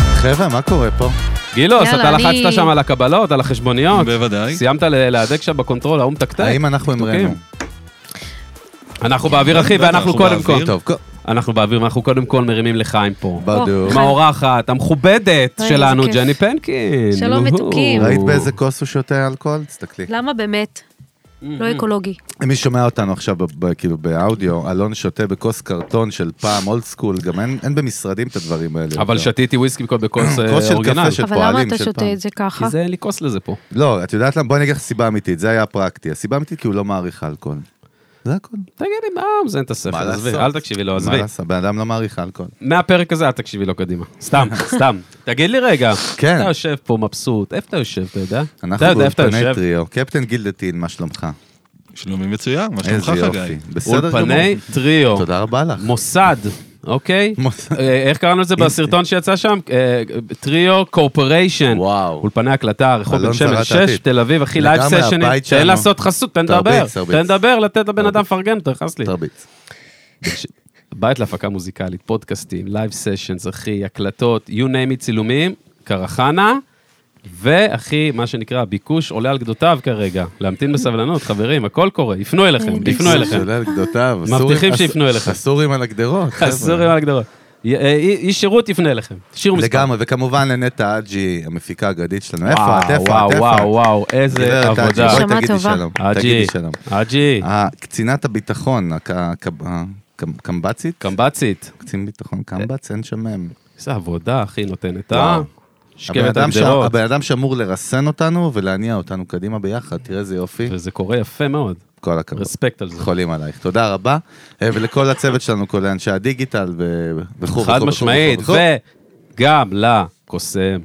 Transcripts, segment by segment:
חבר'ה, מה קורה פה? גילוס, יאללה, אתה אני- לחצת שם על הקבלות, על החשבוניות. בוודאי. סיימת ל- להדק שם בקונטרול, ההוא מתקתק. האם אנחנו עם תקתוקים. רנו? אנחנו באוויר, אחי, בטח, ואנחנו אנחנו קודם כל... באוויר. טוב, קו- אנחנו באוויר, ואנחנו קודם כל מרימים לחיים פה. בדיוק. אוכל. עם האורחת המכובדת אוי, שלנו, איזה כיף. ג'ני פנקין. שלום, אוהו. מתוקים. ראית באיזה כוס הוא שותה אלכוהול? תסתכלי. למה באמת? לא אקולוגי. אם מי שומע אותנו עכשיו, ב- ב- כאילו באודיו, אלון שותה בכוס קרטון של פעם, אולד סקול, גם אין אין במשרדים את הדברים האלה. לא. אבל יותר. שתיתי וויסקי בקוד בכוס אה, כוס של אורגינל. קפה של אבל למה פועלים אתה של שותה פעם. את זה ככה? כי זה אין לי כוס לזה פה. לא, את יודעת למה? בואי אני אגיד לך סיבה אמיתית, זה היה הפרקטי. הסיבה האמיתית כי הוא לא מעריך אלכוהול. זה הכל. תגיד לי, מה הוא מזיין את הספר? מה עזבי, לעשות? אל תקשיבי לו, מה עזבי. לעשות, בן אדם לא מעריך אלכוהול. מהפרק הזה אל תקשיבי לו קדימה. סתם, סתם. תגיד לי רגע, כן. אתה יושב פה מבסוט, איפה אתה יושב, אתה יודע? אנחנו אתה יודע איפה אתה יושב? באולפני טריו. קפטן גילדטין, מה שלומך? שלומי מצוין, מה שלומך איזה יופי. חגי? בסדר גמור. אולפני טריו. תודה רבה לך. מוסד, אוקיי? מוסד. אה, איך קראנו לזה בסרטון שיצא שם? אה, טריו קורפוריישן. וואו. אולפני הקלטה, רחוב אלון בן שמן צרת 6, העתיד. תל אביב, אחי לייב לגמרי, סשנים. הבית תן שלנו. לעשות חסות, תן תרביץ, לדבר. תרביץ. תן לדבר, לתת לבן אדם לפרגן, תכנס לי. תרביץ. בית להפקה מוזיקלית, פודקאסטים, לייב סשנס, אחי, הקלטות, you name it, צילומים, קרחנה, ואחי, מה שנקרא, הביקוש עולה על גדותיו כרגע. להמתין בסבלנות, חברים, הכל קורה, יפנו אליכם, יפנו אליכם. שולל גדותיו. מבטיחים הסורים- שיפנו אליך. הסורים על הגדרות. חבר'ה. אסורים על הגדרות. י- אה, איש שירות יפנה אליכם, תשאירו מספר. לגמרי, וכמובן לנטע אג'י, המפיקה האגדית שלנו. איפה וואו, את? איפה וואו, את? איפה וואו, את? וואו, איזה גברת אג'י, עבודה. בואי נשמה תגידי טובה. שלום. אג'י, תגידי שלום. אג'י, ה- קצינת הביטחון, הק- הקב- הקמ- קמב"צית? קמב"צית. קצין ביטחון קמב"ץ, אין שם הם. איזה עבודה, אחי, נותנת, אה? וואו. הבן שקמת אדם ש- הגדרות. הבן אדם שאמור לרסן אותנו ולהניע אותנו קדימה ביחד, תראה איזה יופי. וזה קורה יפה מאוד. כל הכבוד. רספקט על זה. חולים עלייך, תודה רבה. אה, ולכל הצוות שלנו, כל אנשי הדיגיטל ו- וכו' וכו'. חד וכו', משמעית, וכו', וכו'. וגם לקוסם,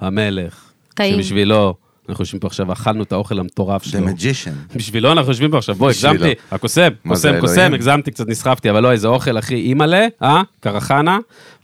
המלך, טעים. שבשבילו אנחנו יושבים פה עכשיו, אכלנו את האוכל המטורף The שלו. Magician. בשבילו אנחנו יושבים פה עכשיו, בוא, בשבילו. הגזמתי, הקוסם, מה זה, קוסם, קוסם, אלוהים? הגזמתי, קצת נסחפתי, אבל לא, איזה אוכל, אחי, אימא'לה, אה? קרחנה,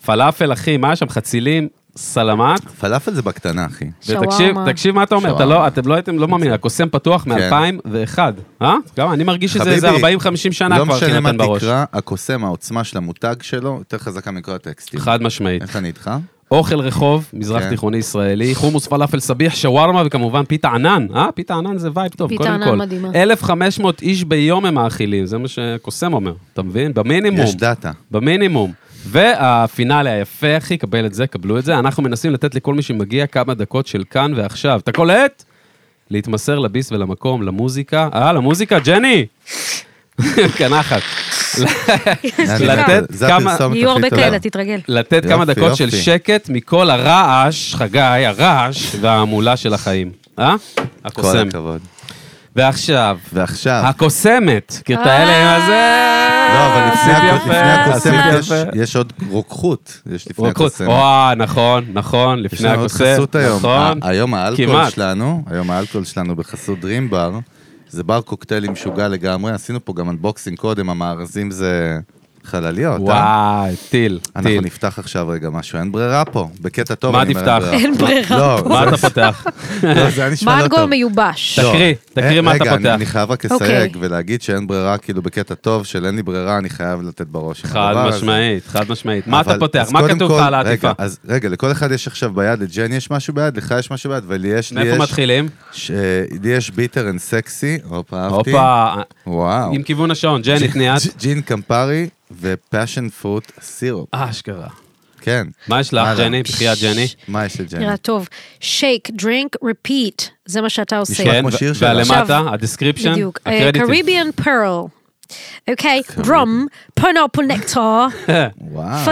פלאפל, אחי, מה היה שם? חצילים, סלמת. פלאפל זה בקטנה, אחי. ותקשיב, שווארמה. תקשיב מה אתה אומר, אתה שווארמה. כן. לא, אתם לא הייתם, לא מאמין, הקוסם פתוח מ-2001, אה? גם אני מרגיש שזה איזה 40-50 חביבי, שנה כבר לא חינתן משנה מה בראש. תקרא, הקוסם, העוצמה של המותג שלו, יותר חזקה מכל הטקסטים. חד משמעית. איך אני איתך? אוכל רחוב, מזרח כן. תיכוני ישראלי, חומוס פלאפל סביח, שווארמה וכמובן פיתה ענן, אה? פיתה ענן זה וייב טוב, פיתה קודם ענן כל. מדהימה. 1,500 איש ביום הם מאכילים, זה מה שקוסם אומר, אתה מבין? במינימום. יש דאטה. במינימום. והפינאלי היפה, אחי, קבל את זה, קבלו את זה. אנחנו מנסים לתת לכל מי שמגיע כמה דקות של כאן ועכשיו. אתה קולט? להתמסר לביס ולמקום, למוזיקה. אה, למוזיקה, ג'ני! קנחת. לתת זה כמה- הפרסומת יהיו הכי הרבה טובה. כאלה, תתרגל. לתת יופי, כמה דקות של יופי. שקט מכל הרעש, חגי, הרעש וההמולה של החיים. אה? כל הקוסם. הכבוד. ועכשיו, ועכשיו, הקוסמת, כי את האלה עם הזה... לא, אבל לפני עשית הכל- יפה, לפני הקוסם עשית יש- יפה. יש עוד רוקחות. יש לפני רוקחות. הקוסם. וואי, נכון, נכון, יש לפני לנו עוד הקוסם. חסות היום. נכון. ה- היום האלכוהול כמעט. שלנו, היום האלכוהול שלנו בחסות Dream Bar, זה בר קוקטיילים משוגע לגמרי, עשינו פה גם אנבוקסינג קודם, המארזים זה חלליות. אה? וואי, טיל, אנחנו טיל. נפתח עכשיו רגע משהו, אין ברירה פה, בקטע טוב. מה אני אומר, תפתח? אין ברירה. לא, מה אתה פותח? זה- לא, זה היה נשמע לא מנגו טוב. מיובש. לא. תקריא, תקריא אה, מה אתה רגע, פותח. אני- אני חייב רק אוקיי. לסייג ולהגיד שאין ברירה, כאילו בקטע טוב של אין לי ברירה, אני חייב לתת בראש. עם חד הדבר הזה. משמעית, חד משמעית. מה אתה אבל- פותח? אז מה קודם כתוב כל- לך על העטיפה? רגע, אז רגע, לכל אחד יש עכשיו ביד, לג'ני יש משהו ביד, לך יש משהו ביד, ולי יש, לי מאיפה יש, מתחילים? ש- אה, לי יש ביטר אנד סקסי, הופה, אהבתי. הופה, וואו. עם כיוון השעון, ג'ני, תני את. ג'- ג'ין קמפרי ופאשן פרוט סירופ, אשכרה. כן. מה יש לך, הלאה. ג'ני? בחייאת, ג'ני. מה יש לג'ני? נראה טוב. שייק, דרינק, ריפיט, זה מה שאתה עושה. נשמע כמו שיר שלה. כן, ולמטה, עכשיו, הדסקריפשן, בדיוק. אה, הקרדיטים. קריביאן פרל. אוקיי, דרום, פרנופל נקטר, וואו.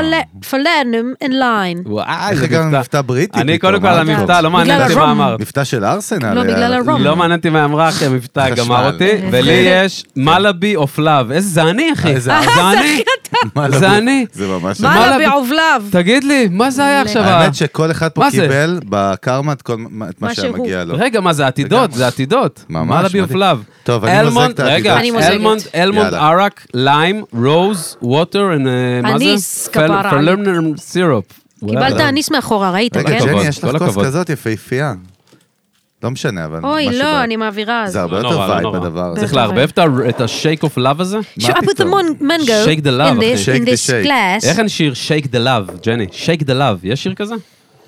פלנום אין ליין. וואי, איך זה הגענו מבטא. למבטא בריטי? אני פתאום, קודם כל מה על אתה המבטא, רוצה? לא מעניין אותי מה הרום. אמרת. מבטא של ארסנל. לא, היה- בגלל הרום. לא מעניין אותי מה אמרה, אחי, המבטא חשמל. גמר אותי, ולי יש מלאבי אוף לאב. איזה זה אני, אחי. איזה- זה אני. אה, מה לא- זה אני. זה ממש... מה מה לב- בעובליו? תגיד לי, מה זה היה עכשיו? אה, ה- האמת שכל אחד פה מה זה? קיבל בקרמה את כל מה- את מה מה שהיה שהוא. מגיע לו. רגע, מה זה עתידות? לא. לגמרי. זה עתידות. ממש, מלאבי אוף מדהים. לאב. טוב, אני מוזג את העתידות רגע, אני מוזגת. אלמונד, אלמונד, יאללה. ערק, ליים, רוז, ווטר, אה, מה זה? אניס, כפרה עליך. פלרנר סירופ. קיבלת אניס מאחורה, ראית, רגע, כן? הכבוד, ג'ני, יש כל לך הכבוד. כוס כזאת יפהפייה. לא משנה, אבל... אוי, משהו לא, ב- אני מעבירה. אז. זה הרבה לא יותר נורא, לא וייב נורא. בדבר הזה. צריך לערבב את ה- את השייק אוף לאב הזה? Should I put the פתאום? mon- mango Shake the love, in this, אחי. in Shake the this shake. glass? איך אין שיר שייק דה לאב, ג'ני? שייק דה לאב, יש שיר כזה?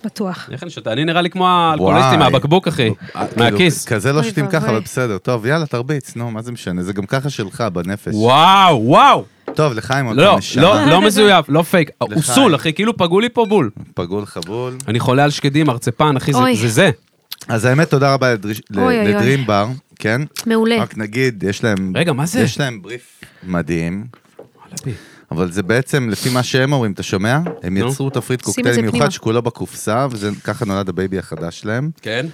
בטוח. איך אני שותה? אני נראה לי כמו האלכוהוליסטים וואי. מהבקבוק, אחי. מהכיס. כאילו, כזה לא אוי שותים ככה, ואבוי. אבל בסדר. טוב, יאללה, תרביץ, נו, מה זה משנה? זה גם ככה שלך, בנפש. וואו, וואו! טוב, לחיים, לא, לא, לא מזויף, לא פייק. הוא לחיים. סול, אחי, כאילו פגעו לי פה בול. פגול חבול. אני חולה על שקדים, הרצפן, אחי, זה- אוי. זה זה. אז האמת, תודה רבה לדריש- אוי, אוי, אוי. לדרים בר, כן? מעולה. רק נגיד, יש להם... רגע, מה זה? יש להם בריף מדהים, וואלה, בי. אבל זה בעצם, לפי מה שהם אומרים, אתה שומע? הם נו. יצרו תפריט שים את קוקטייל זה מיוחד פנימה. שכולו בקופסה, וככה נולד הבייבי החדש שלהם. כן?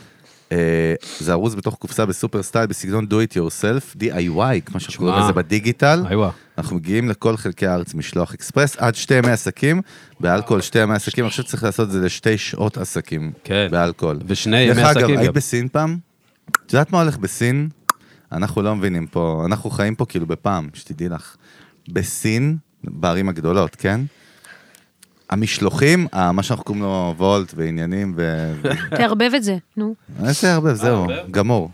אה, זה ארוז בתוך קופסה בסופר סטייל בסגנון do it yourself, DIY, כמו שאנחנו שמע. קוראים לזה בדיגיטל. איי, וואו. אנחנו מגיעים לכל חלקי הארץ משלוח אקספרס, עד שתי ימי עסקים, באלכוהול שתי ימי עסקים, אני חושב שצריך לעשות את זה לשתי שעות עסקים, כן. באלכוהול. ושני ימי דרך עסקים אגב, היית גם. בסין פעם? את יודעת מה הולך בסין? אנחנו לא מבינים פה, אנחנו חיים פה כאילו בפעם, שתדעי לך. בסין, בערים הגדולות, כן? המשלוחים, ה- מה שאנחנו קוראים לו וולט ועניינים ו... תערבב את זה, נו. איזה אה, ערבב, זהו, ערבב? גמור.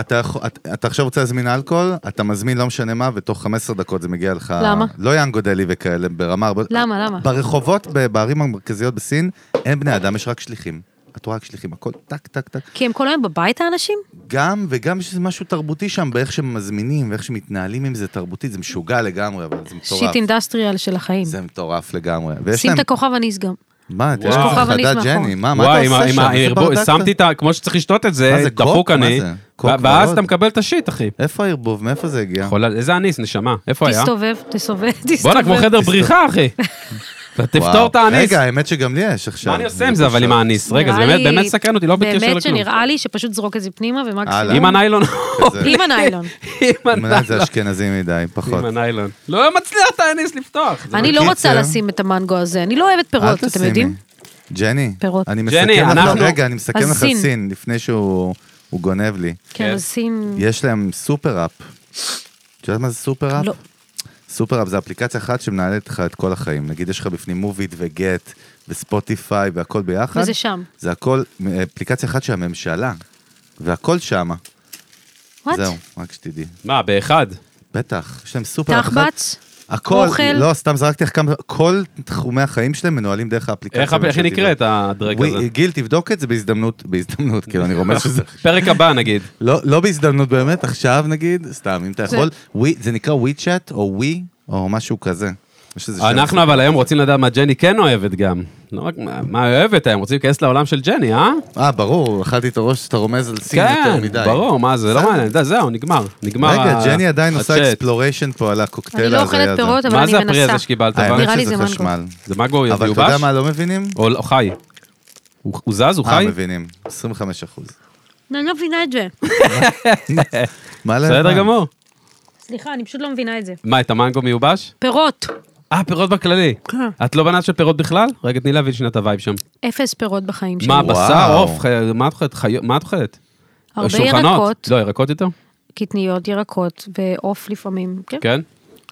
אתה, יכול- אתה, אתה עכשיו רוצה להזמין אלכוהול, אתה מזמין לא משנה מה, ותוך 15 דקות זה מגיע לך... למה? לא יאנגו דלי וכאלה, ברמה הרבה... למה, למה? ברחובות, ב- בערים המרכזיות בסין, אין בני אדם, יש רק שליחים. את רואה רק שליחים, הכל טק, טק, טק. כי הם כל היום בבית האנשים? גם, וגם יש איזה משהו תרבותי שם, באיך שמזמינים, ואיך שמתנהלים עם זה תרבותית, זה משוגע לגמרי, אבל זה מטורף. שיט אינדסטריאל של החיים. זה מטורף לגמרי. ויש שים להם... את הכוכב הניס גם. מה, יש יש לך כוכב אניס חדה מאחור. ג'ני, אה, מה, מה אתה וואי, עם ה- עושה עם שם? ה- איזה הערבוב- ברדק שמתי אתה? את ה... כמו שצריך לשתות את מה זה, זה, קוק? דפוק מה אני, זה? קוק אה. ו- ואז ורוד? אתה מקבל את השיט, אחי. איפה הערבוב? מאיפה זה הגיע? חולה- איזה אניס, נשמה? איפה היה? תסתובב, תסתובב, תסתובב. בואנה, כמו חדר בריחה, אחי. אתה תפתור וואו. את האניס. רגע, האמת שגם לי יש עכשיו. מה אני עושה עם זה, אבל עם חושב. האניס? רגע, זה נראה באמת לי- באמת סקרן אותי, לא בקשר באמת לכלום. שנראה לי שפשוט זרוק את זה פנימה הלאה. עם ומקסימום. הניילון. עם הניילון. עם מנת זה הניילון. אשכנזי מדי, פחות. עם הניילון. לא מצליח את האניס לפתוח. זה אני לא בקיצר- רוצה לשים את המנגו הזה, אני לא אוהבת אל פירות, אתם תשימי. יודעים? ג'ני, פירות. אני ג'ני, מסכם לך, לא, אנחנו- רגע, אני מסכם אז לך סין. סין, לפני שהוא הוא גונב לי. כן. כן, אז שים... יש להם סופר-אפ. את יודעת מה זה סופר-אפ? לא. סופר-אפ זה אפליקציה אחת שמנהלת לך את כל החיים. נגיד יש לך בפנים מוביט וגט וספוטיפיי והכל ביחד. וזה שם. זה הכל אה, אפליקציה אחת של הממשלה, והכל שמה. וואט? זהו, רק שתדעי. מה, באחד? בטח, יש להם סופר אחת. תחבץ? הכל, אוכל. לא, סתם זרקתי לך כמה, כל תחומי החיים שלהם מנוהלים דרך האפליקציה. איך איך היא הממשלתית. נקראת, הדרג הזה? ווי- גיל, תבדוק את זה בהזדמנות, בהזדמנות, כאילו, אני רומז שזה... פרק הבא, נגיד. לא, לא בהזדמנות באמת, עכשיו נגיד, סתם, אם אתה יכול, ווי- זה נקרא ווי צ'אט או ווי, או משהו כזה. יש איזה שם. אנחנו אבל היום רוצים לדעת מה ג'ני כן אוהבת גם. לא רק מה- מה היא אוהבת היום, רוצים להיכנס לעולם של ג'ני, אה? אה, ברור, אכלתי את הראש שאתה רומז על סין כן, יותר מדי. ברור, מה זה, לא בסדר. מעניין, די, זהו, נגמר. נגמר רגע, ה- ג'ני עדיין עושה הצ'אט. אקספלוריישן פה על אני הקוקטייל לא ההזוי אוכלת הזה. פירות, אבל מה אני זה הפרי מנסה. הזה שקיבלת? נראה האמת לי שזה זה מנגו. חשמל. זה מגו אבל מיובש? אתה יודע מה לא מבינים? או לא, חי. הוא הוא זז, הוא חי? אה, מבינים, 25 אחוז. אני לא מבינה את זה. מה בסדר לאדם? גמור. סליחה, אני פשוט לא מבינה את זה. מה, את המנגו מיובש? פירות. אה, פירות בכללי. כן. את לא בנת של פירות בכלל? רגע, תני להבין שנייה את הווייב שם. אפס פירות בחיים שלי. מה, וואו. בשר, עוף, ח- מה את אוכלת? חי- מה את אוכלת? הרבה שולחנות? ירקות, לא, ירקות יותר? קטניות, ירקות ועוף לפעמים. כן. כן.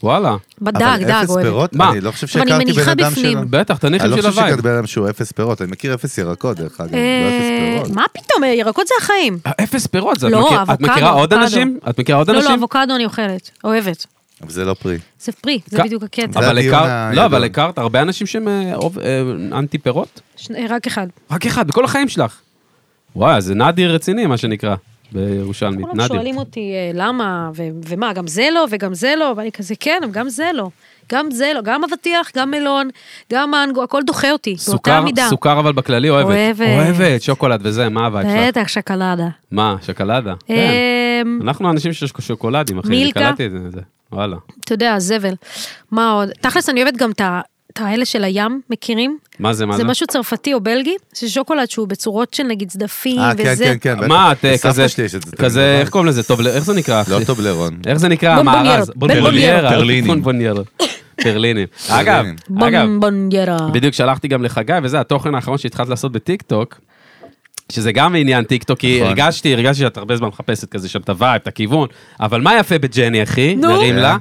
וואלה. בדג, אבל דג אפס אוהבת. פירות? מה? אני לא חושב אבל שהכרתי אני מניחה בן אדם בפנים. שלו. בטח, תניחי אני לא בשביל חושב הווייב. שהכרתי בן אדם שהוא אפס פירות, אני מכיר אפס ירקות דרך אגב, לא אפס אה, פירות. מה פתאום אה, ירקות זה החיים. אפס פירות, זה את לא, מכיר- את אבוקדו, מכירה עוד אבוקדו. אנשים? את מכירה עוד לא, לא, אנשים? אבוקדו אני אוכלת, אוהבת. אבל זה לא פרי. זה פרי, זה כ- בדיוק הקטע. זה אבל הדיון הכרת, לא, הגדול. אבל הכרת הרבה אנשים שהם אה, אוב- אה, אנטי פירות? שני- אה, רק אחד. רק אחד, בכל החיים שלך. וואי, זה נדיר רציני, מה שנקרא, בירושלמית, כולם נדיר. שואלים אותי אה, למה, ו- ומה, גם זה לא, וגם זה לא, ואני כזה, כן, אבל גם זה לא. גם זה לא, גם אבטיח, גם מלון, גם מנגו, הכל דוחה אותי, באותה סוכר, מידה. סוכר אבל בכללי אוהבת. אוהבת. אוהבת, שוקולד וזה, מה הווייב שלך? בטח, שקלדה. מה, שקלדה? כן. אמ, אנחנו אנשים של שוקולדים, אחי, אני מילקה. קלטתי את זה, וואלה. אתה יודע, זבל. מה עוד? תכלס, אני אוהבת גם את ה- את האלה של הים, מכירים? מה זה, מה זה זה? משהו צרפתי או בלגי, ששוקולד שהוא בצורות של נגיד צדפים אה, כן, וזה. כן, כן, בטח. מה, את אה, לסבתא כזה, שלי יש את זה תמיד כזה, בבית. איך קוראים לזה? טוב, איך זה נקרא? לא אחי? טובלרון. איך זה נקרא? בונבוניירות, המארז. בונבוניירות. טרלינים. בונבוניירות. טרלינים. אגב, טרלינים. אגב, בונבוניירה. בדיוק שלחתי גם לחגי, וזה התוכן האחרון שהתחלת לעשות בטיק טוק, שזה גם עניין טיק טוק, כי נכון. הרגשתי, הרגשתי שאת הרבה זמן מחפשת כזה שם את הווייב, את הכיוון, אבל מה יפה בג'ני, אחי? נו. נרים כן. לה,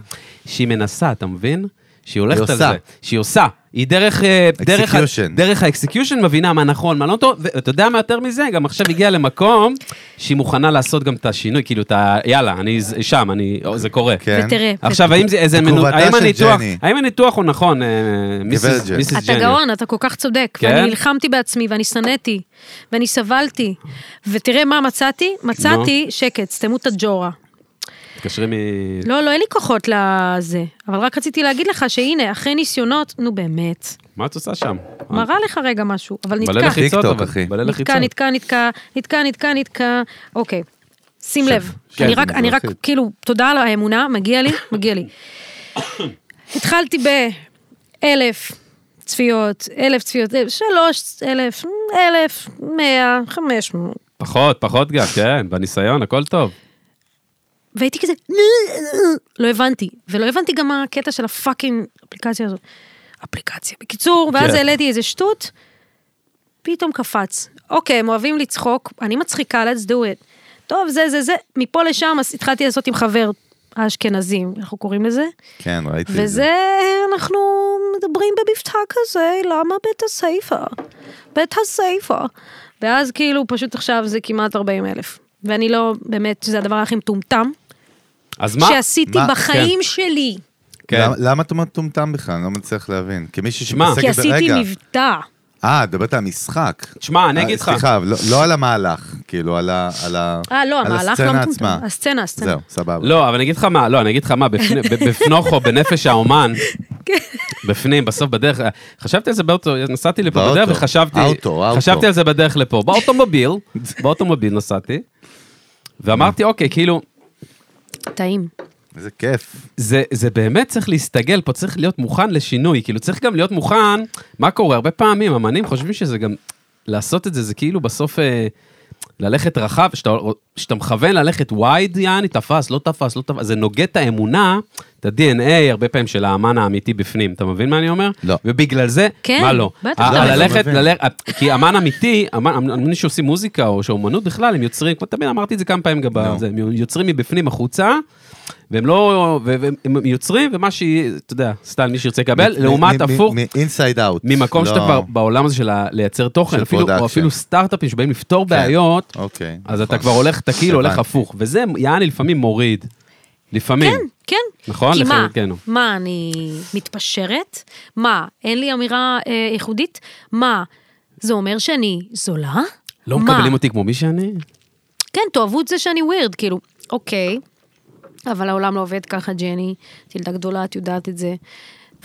שהיא מנסה, אתה מבין? שהיא הולכת היא על עושה. זה, שהיא עושה. היא דרך... אה, דרך ה- Execution. דרך האקסקיושן מבינה מה נכון, מה לא טוב, ואתה יודע מה יותר מזה? גם עכשיו הגיעה למקום שהיא מוכנה לעשות גם את השינוי, כאילו, את ה... יאללה, אני ז- שם, אני... או, זה קורה. כן. ותראה. עכשיו, האם זה איזה... מנו- תגובתה האם של הניתוח- ג'ני. האם הניתוח הוא נכון, אה, מיסיס ג'ני. מיסיס אתה ג'ני? גאון, אתה כל כך צודק. כן? ואני נלחמתי בעצמי, ואני שנאתי, ואני סבלתי. ותראה מה מצאתי? מצאתי שקט, סתמו את הג'ורה. מתקשרים מ... לא, לא, אין לי כוחות לזה. אבל רק רציתי להגיד לך שהנה, אחרי ניסיונות, נו באמת. מה את עושה שם? מראה לך רגע משהו, אבל בליל נתקע. לחיצות, טיקטוק, אבל. אחי. בליל לחיצות. נתקע, נתקע, נתקע, נתקע, נתקע, נתקע, אוקיי. שים לב, כן, אני זה רק, אני רק, מזרחית. כאילו, תודה על האמונה, מגיע לי, מגיע לי. התחלתי באלף צפיות, אלף צפיות, אלף, שלוש אלף, אלף, מאה, חמש מאות. פחות, פחות גם, כן, בניסיון, הכל טוב. והייתי כזה, לא הבנתי, ולא הבנתי גם מה הקטע של הפאקינג אפליקציה הזאת. אפליקציה. בקיצור, ואז כן. העליתי איזה שטות, פתאום קפץ. אוקיי, הם אוהבים לצחוק, אני מצחיקה, let's do it. טוב, זה, זה, זה, מפה לשם אז התחלתי לעשות עם חבר האשכנזים, אנחנו קוראים לזה, כן, ראיתי את זה. וזה, אנחנו מדברים במבטא כזה, למה בית הספר? בית הספר. ואז כאילו, פשוט עכשיו זה כמעט 40 אלף. ואני לא, באמת, זה הדבר הכי מטומטם. אז מה? שעשיתי מה? בחיים שלי. כן. למה- למה אתה מטומטם בכלל? אני לא מצליח להבין. כמישהי שמע. שמתעסקת כי עשיתי ברגע. מבטא. אה, את מדברת על המשחק. תשמע, אני אה, אגיד לך. סליחה, לא- לא על המהלך, כאילו, על ה... על ה- אה, לא, על המהלך לא הסצנה מטומטם. עצמה. הסצנה, הסצנה. זהו, סבבה. לא, אבל אני אגיד לך מה, לא, אני אגיד לך מה, בפני- ב- בפנוכו, בנפש האומן, כן. בפנים, בסוף בדרך, חשבתי על זה באוטו, נסעתי לפה באוטו, בדרך וחשבתי, האוטו, האוטו. חשבתי על זה בדרך לפה, באוטומוביל, באוטומוביל נסעתי, ואמרתי, אוקיי, כאילו, טעים. איזה כיף. זה, זה באמת צריך להסתגל פה, צריך להיות מוכן לשינוי, כאילו צריך גם להיות מוכן, מה קורה? הרבה פעמים אמנים חושבים שזה גם, לעשות את זה, זה כאילו בסוף אה, ללכת רחב, שאתה, שאתה מכוון ללכת וייד, יעני, תפס, לא תפס, לא תפס, זה נוגד את האמונה, את ה-DNA הרבה פעמים של האמן האמיתי בפנים, אתה מבין מה אני אומר? לא. ובגלל זה, כן, מה לא? בטח. ה- לא, אני לא ללכת, מבין. ללכת, כי אמן אמיתי, אמן- אמנים שעושים מוזיקה או שאומנות בכלל, הם יוצרים, כמו תמיד אמרתי את זה כמה פעמים גם, בזה, הם יוצרים מבפנים החוצה, והם לא, ו- והם הם יוצרים, ומה ש... אתה יודע, סתם מי שירצה לקבל, מ- לעומת מ- מ- הפוך, מ- מ-inside out. ממקום לא- שאתה כבר בעולם הזה של ה- לייצר תוכן, של אפילו- או production. אפילו סטארט-אפים שבאים לפתור כן. בעיות, אוקיי. אז אתה נכון. כבר הולך, אתה כאילו הולך הבנתי. הפוך, וזה יעני לפעמים מוריד, לפעמים. כן, כן. נכון, כי מה, לחלקנו. מה, אני מתפשרת? מה, אין לי אמירה אה, ייחודית? מה, זה אומר שאני זולה? לא מה? מקבלים אותי כמו מי שאני? כן, תאהבו את זה שאני ווירד, כאילו, אוקיי, אבל העולם לא עובד ככה, ג'ני, את ילדה גדולה, את יודעת את זה.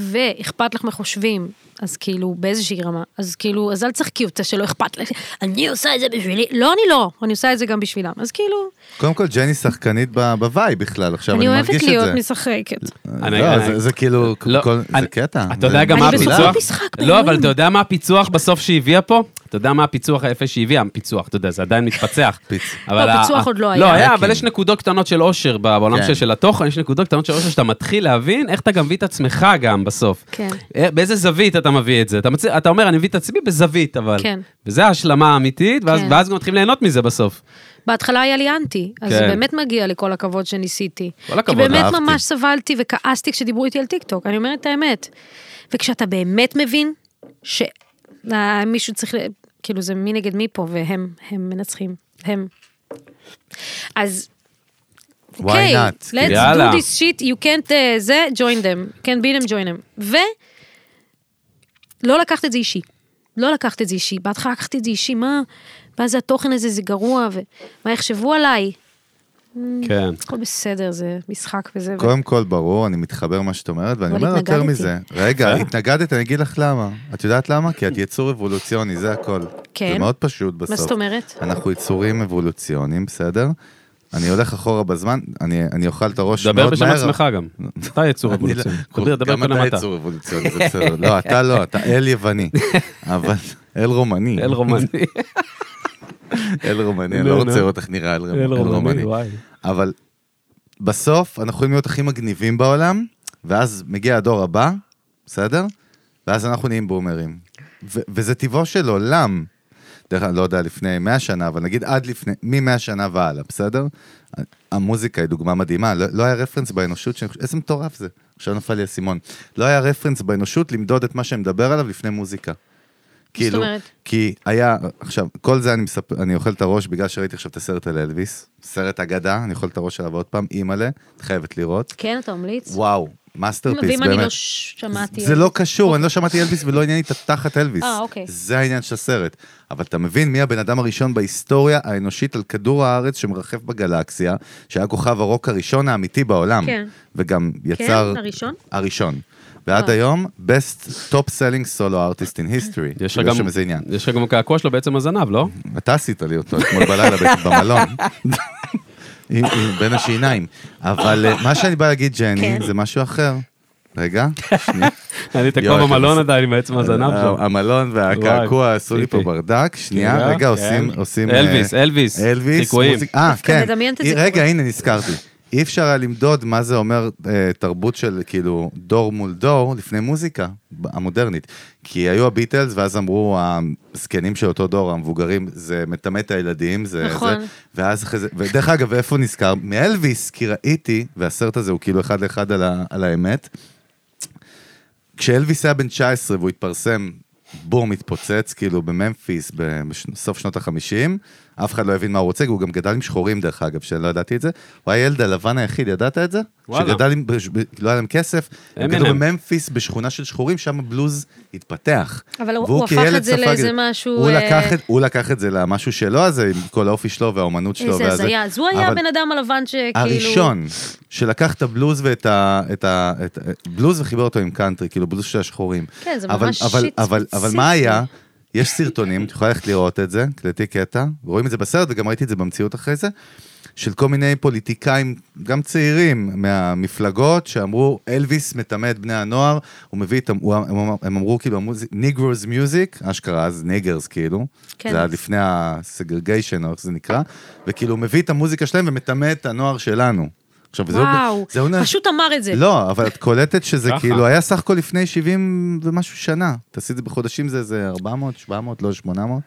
ואכפת לך מה חושבים, אז כאילו, באיזושהי רמה, אז כאילו, אז אל תשחקי אותה שלא אכפת לך, אני עושה את זה בשבילי, לא, אני לא, אני עושה את זה גם בשבילם, אז כאילו, קודם כל, ג'ני שחקנית ב- בוואי בכלל, עכשיו אני אני מרגיש את אוהבת זה. להיות משחקת. אני- לא, אני- זה- זה כאילו, כל- זה אני- קטע. אתה יודע גם אני מה בסופו הפיצוח? של משחק, לא, באלוהים. אבל אתה יודע מה הפיצוח בסוף שהיא הביאה פה? אתה יודע מה הפיצוח היפה שהיא הביאה? הפיצוח, אתה יודע, זה עדיין מתפצח. פיצ- אבל לא, ה- פיצוח עוד לא היה. לא היה, היה, אבל כן. יש נקודות קטנות של אושר בעולם כן. של- של התוכן, יש נקודות קטנות של אושר שאתה מתחיל להבין איך אתה גם מביא את עצמך גם בסוף. כן. אה, באיזה זווית אתה מביא את זה? אתה מצ- אתה אומר, אני מביא את עצמי בזווית, אבל. כן. וזה ההשלמה האמיתית, ואז- כן. ואז גם מתחילים ליהנות מזה בסוף. בהתחלה היה לי אנטי, אז כן. זה באמת מגיע לי כל הכבוד שניסיתי. כל הכבוד, כי באמת אהבתי. ממש סבלתי וכעסתי כשדיברו איתי על טיקטוק, אני אומרת את האמת. וכשאתה באמת מבין שמישהו צריך, ל- כאילו זה מי נגד מי פה, והם הם מנצחים, הם. אז... Why אוקיי, not? let's יאללה. do this shit, you can't, uh, זה, join them, can't be them, join them. ולא לקחת את זה אישי. לא לקחת את זה אישי. בהתחלה לקחתי את זה אישי, מה? מה זה התוכן הזה, זה גרוע, ומה יחשבו עליי? Mm. כן. הכל בסדר, זה משחק וזה. ו... קודם כל, ברור, אני מתחבר מה שאת אומרת, ואני אבל אומר יותר התנגדתי. מזה. אה? רגע, התנגדת, אני אגיד לך למה. את יודעת למה? כי את יצור אבולוציוני, זה הכל. כן. זה מאוד פשוט בסוף. מה זאת אומרת? אנחנו יצורים אבולוציוניים, בסדר? אני הולך אחורה בזמן, אני אני אוכל את הראש מאוד מהר. דבר בשם עצמך גם. אתה יצור אני לא- אבולוציוני. כל- דבר, דבר גם קודם אתה אתה. יצור אבולוציוני, זה בסדר. לא, אתה לא, אתה אל יווני. אבל אל רומני. אל רומני. אל רומני, אני נו, לא נו. רוצה לראות איך נראה אל אל רומני. וואי. אבל בסוף אנחנו יכולים להיות הכי מגניבים בעולם, ואז מגיע הדור הבא, בסדר? ואז אנחנו נהיים בומרים. ו- וזה טבעו של עולם. דרך אגב, לא יודע, לפני 100 שנה, אבל נגיד עד לפני, מ-100 שנה והלאה, בסדר? המוזיקה היא דוגמה מדהימה, לא, לא היה רפרנס באנושות, שאני חושב- איזה מטורף זה. עכשיו נפל לי האסימון. לא היה רפרנס באנושות למדוד את מה שאני מדבר עליו לפני מוזיקה. כאילו, אומרת? כי היה, עכשיו, כל זה אני מספר, אני אוכל את הראש בגלל שראיתי עכשיו את הסרט על אלוויס, סרט אגדה, אני אוכל את הראש עליו עוד פעם, אימא'לה, את חייבת לראות. כן, אתה ממליץ? וואו, מאסטרפיס, ואם אני לא באמת. ש- שמעתי... אוקיי. זה לא קשור, אני לא שמעתי אלוויס ולא עניין לי את התחת אלוויס. אה, אוקיי. זה העניין של הסרט. אבל אתה מבין מי הבן אדם הראשון בהיסטוריה האנושית על כדור הארץ שמרחף בגלקסיה, שהיה כוכב הרוק הראשון האמיתי בעולם. כן. וגם כן, יצר... הראשון? אה. הראשון. ועד היום, best top selling solo artist in history. יש לך בגלל גם- שם איזה כאילו, עניין. יש לך גם קעקוע שלו בעצם הזנב, לא? אתה עשית לי אותו אתמול בלילה ב- במלון. עם- עם- בין השיניים. אבל אה, מה שאני בא להגיד, ג'ני, כן. זה משהו אחר. רגע, שנייה. אני תקוע יואי, במלון כן. עדיין עם עצם הזנב שלו. המלון והקעקוע וואי, עשו לי ציפי. פה ברדק. שנייה, כן. רגע, עושים... עושים, אלוויס, אה, אלוויס, אלוויס. חיקויים. מוזיק- אה, דווקא כן. מדמיינת את אי- זה רגע, קורה. הנה, נזכרתי. אי אפשר היה למדוד מה זה אומר אה, תרבות של כאילו דור מול דור לפני מוזיקה ב- המודרנית. כי היו הביטלס, ואז אמרו הזקנים של אותו דור, המבוגרים, זה מטמא את הילדים, זה... נכון. זה, ואז אחרי זה, ודרך אגב, איפה נזכר? מאלוויס, כי ראיתי, והסרט הזה הוא כאילו אחד לאחד על, ה, על האמת, כשאלוויס היה בן 19 והוא התפרסם, בום, התפוצץ, כאילו בממפיס בסוף שנות ה-50, אף אחד לא הבין מה הוא רוצה, כי הוא גם גדל עם שחורים דרך אגב, שלא ידעתי את זה. הוא היה הילד הלבן היחיד, ידעת את זה? וואלה. שגדל עם, בש- ב- לא היה להם כסף, הם M&M. גדלו בממפיס בשכונה של שחורים, שם הבלוז התפתח. אבל הוא- והוא הוא הפך כילד את זה ספג לאיזה משהו, הוא אה, לקח את- הוא לקח את זה למשהו שלו הזה, עם כל האופי שלו והאומנות שלו. איזה והזה. הזיה. אז הוא היה אבל- הבן אדם הלבן שכאילו... הראשון שלקח את הבלוז ואת ה... את ה... את... בלוז וחיבר אותו עם קאנטרי, כאילו בלוז של השחורים. כן, זה אבל, ממש אבל, שיט אבל, אבל ספציפי. מה היה? יש סרטונים, את יכולה ללכת לראות את זה, קלטי קטע, רואים את זה בסרט וגם ראיתי את זה במציאות אחרי זה, של כל מיני פוליטיקאים, גם צעירים מהמפלגות, שאמרו, אלוויס מטמא את בני הנוער, הוא מביא את, ה- הוא, אמ, הם, הם אמרו כאילו, ניגרוס מיוזיק, אשכרה אז ניגרס כאילו, כן. זה היה לפני הסגרגיישן או איך זה נקרא, וכאילו הוא מביא את המוזיקה שלהם ומטמא את הנוער שלנו. עכשיו, זה לא וואו, זה עונה- פשוט אמר את זה. לא, אבל את קולטת שזה ככה. כאילו היה סך הכל לפני 70 ומשהו שנה. תעשי את זה בחודשים, זה איזה 400, 700, לא 800.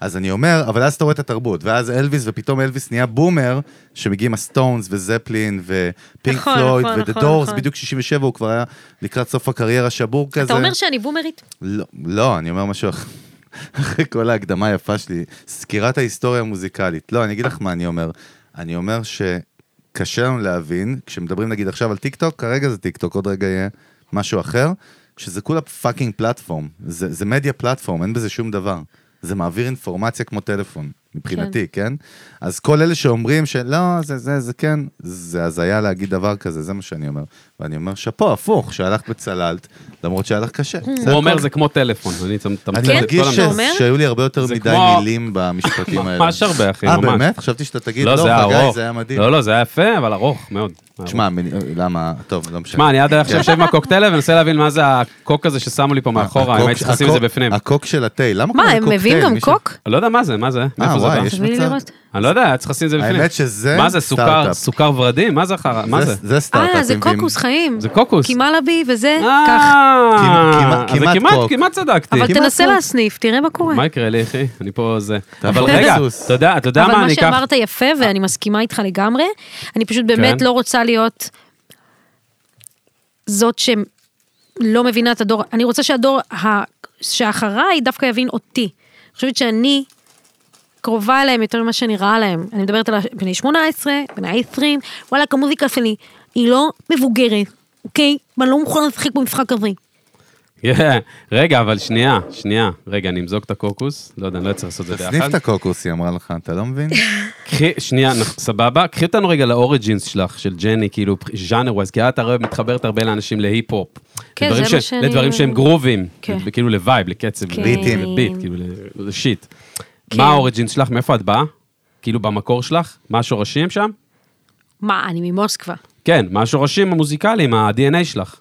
אז אני אומר, אבל אז אתה רואה את התרבות, ואז אלוויס, ופתאום אלוויס נהיה בומר, שמגיעים הסטונס וזפלין ופינק נכון, פלויד נכון, ודה נכון, דורס, נכון. בדיוק 67, הוא כבר היה לקראת סוף הקריירה שבור כזה. אתה אומר שאני בומרית? לא, לא, אני אומר משהו אחר. אחרי כל ההקדמה היפה שלי, סקירת ההיסטוריה המוזיקלית. לא, אני אגיד לך מה אני אומר. אני אומר שקשה לנו להבין, כשמדברים נגיד עכשיו על טיק טוק, כרגע זה טיק טוק, עוד רגע יהיה משהו אחר, שזה כולה פאקינג פלטפורם. זה, זה מדיה פלטפורם, אין בזה שום דבר. זה מעביר אינפורמציה כמו טלפון, מבחינתי, כן? כן? אז כל אלה שאומרים שלא, זה, זה, זה כן, זה הזיה להגיד דבר כזה, זה מה שאני אומר. ואני אומר, שאפו, הפוך, שהלכת וצללת, למרות שהיה לך קשה. הוא הכל. אומר, זה כמו טלפון, אני אני תמצא את מרגיש כל ש- כן, אתה אומר? שהיו לי הרבה יותר זה מדי כמו- מילים במשפטים האלה. ממש הרבה, אחי, אה, ממש. באמת? חשבתי שאתה תגיד, לא, לא, זה היה חגי, ארוך. זה היה מדהים. לא, לא, זה היה יפה, אבל ארוך מאוד. תשמע, מ- למה, טוב, לא משנה. שמע, אני עד עכשיו יושב עם הקוקטייל ומנסה להבין מה זה הקוק הזה ששמו לי פה מאחורה, הקוק- אם הייתי צריך לשים את זה הקוק- בפנים. הקוק של התה, למה מה, קוראים הם קוקטייל? מביאים גם מישהו- קוק? אני לא יודע מה זה, מה זה, מאיפה זה אה, וואי, בא? יש תביא לי מצב. לראות. אני לא יודע, היה צריך לשים את זה בפנים. האמת שזה מה זה, סוכר, סטארט-אפ. סוכר ורדים? מה זה אחר... מה זה? זה סטארט-אפ. אה, זה הם מביאים- קוקוס חיים. זה קוקוס. קימלבי וזה, אוקיי. ככה. אה, כמעט- אז זה כמעט כמעט, קוק. כמעט צדקתי. אבל כמעט תנסה לא. להסניף, תראה מה קורה. מה יקרה לי, אחי? אני פה זה. פה אבל רגע, בסוס. אתה יודע, אתה יודע אבל מה מה אני אקח? אה. שאמרת יפה, ואני מסכימה איתך לגמרי, אני פשוט באמת כן. לא רוצה להיות זאת שלא מבינה את הדור, אני רוצה שהדור ה- שאחריי דווקא יבין אותי. אני חושבת שאני קרובה אליהם יותר ממה שנראה להם. אני מדברת על ה- בני 18, בני 20, וואלכ, המוזיקה שלי היא לא מבוגרת, אוקיי? ואני לא מוכנה לשחק במשחק הזה. Yeah. רגע, אבל שנייה, שנייה. רגע, אני אמזוג את הקוקוס. לא יודע, אני לא צריך לעשות את זה תסניף ביחד. את הקוקוס, היא אמרה לך, אתה לא מבין? קחי, שנייה, נ- סבבה? קחי אותנו רגע לאוריג'ינס שלך, של ג'ני, כאילו, ז'אנר ווייז, כי את הרי מתחברת הרבה לאנשים להיפ-הופ. כן, לדברים זה מה ש- שאני- לדברים שהם גרובים. כן. כאילו לווייב, לקצב, כן. לביטים, לביט, כאילו, לשיט. כן. מה האוריג'ינס שלך? מאיפה את באה? כאילו, במקור שלך? מה השורשים שם? מה, אני ממוסקבה, כן, מה השורשים המוזיקליים, ה-DNA שלך.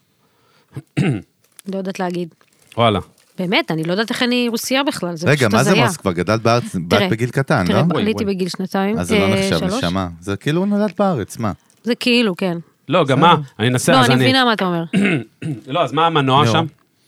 לא יודעת להגיד. וואלה. באמת, אני לא יודעת איך אני רוסייה בכלל, זה פשוט רגע, הזיה. מה זה מוסקבה? גדלת בארץ, תראה, באת בגיל קטן, תראה, לא? וואי, עליתי וואי. בגיל שנתיים, אז זה לא אה, נחשב, שלוש. נשמה. זה כאילו הוא נולד בארץ, מה? זה כאילו, כן. לא, גם מה, אני אנסה, לא, אז אני אני... אוקיי. מבינה מה אתה אומר. לא, אז מה המנוע נו. שם?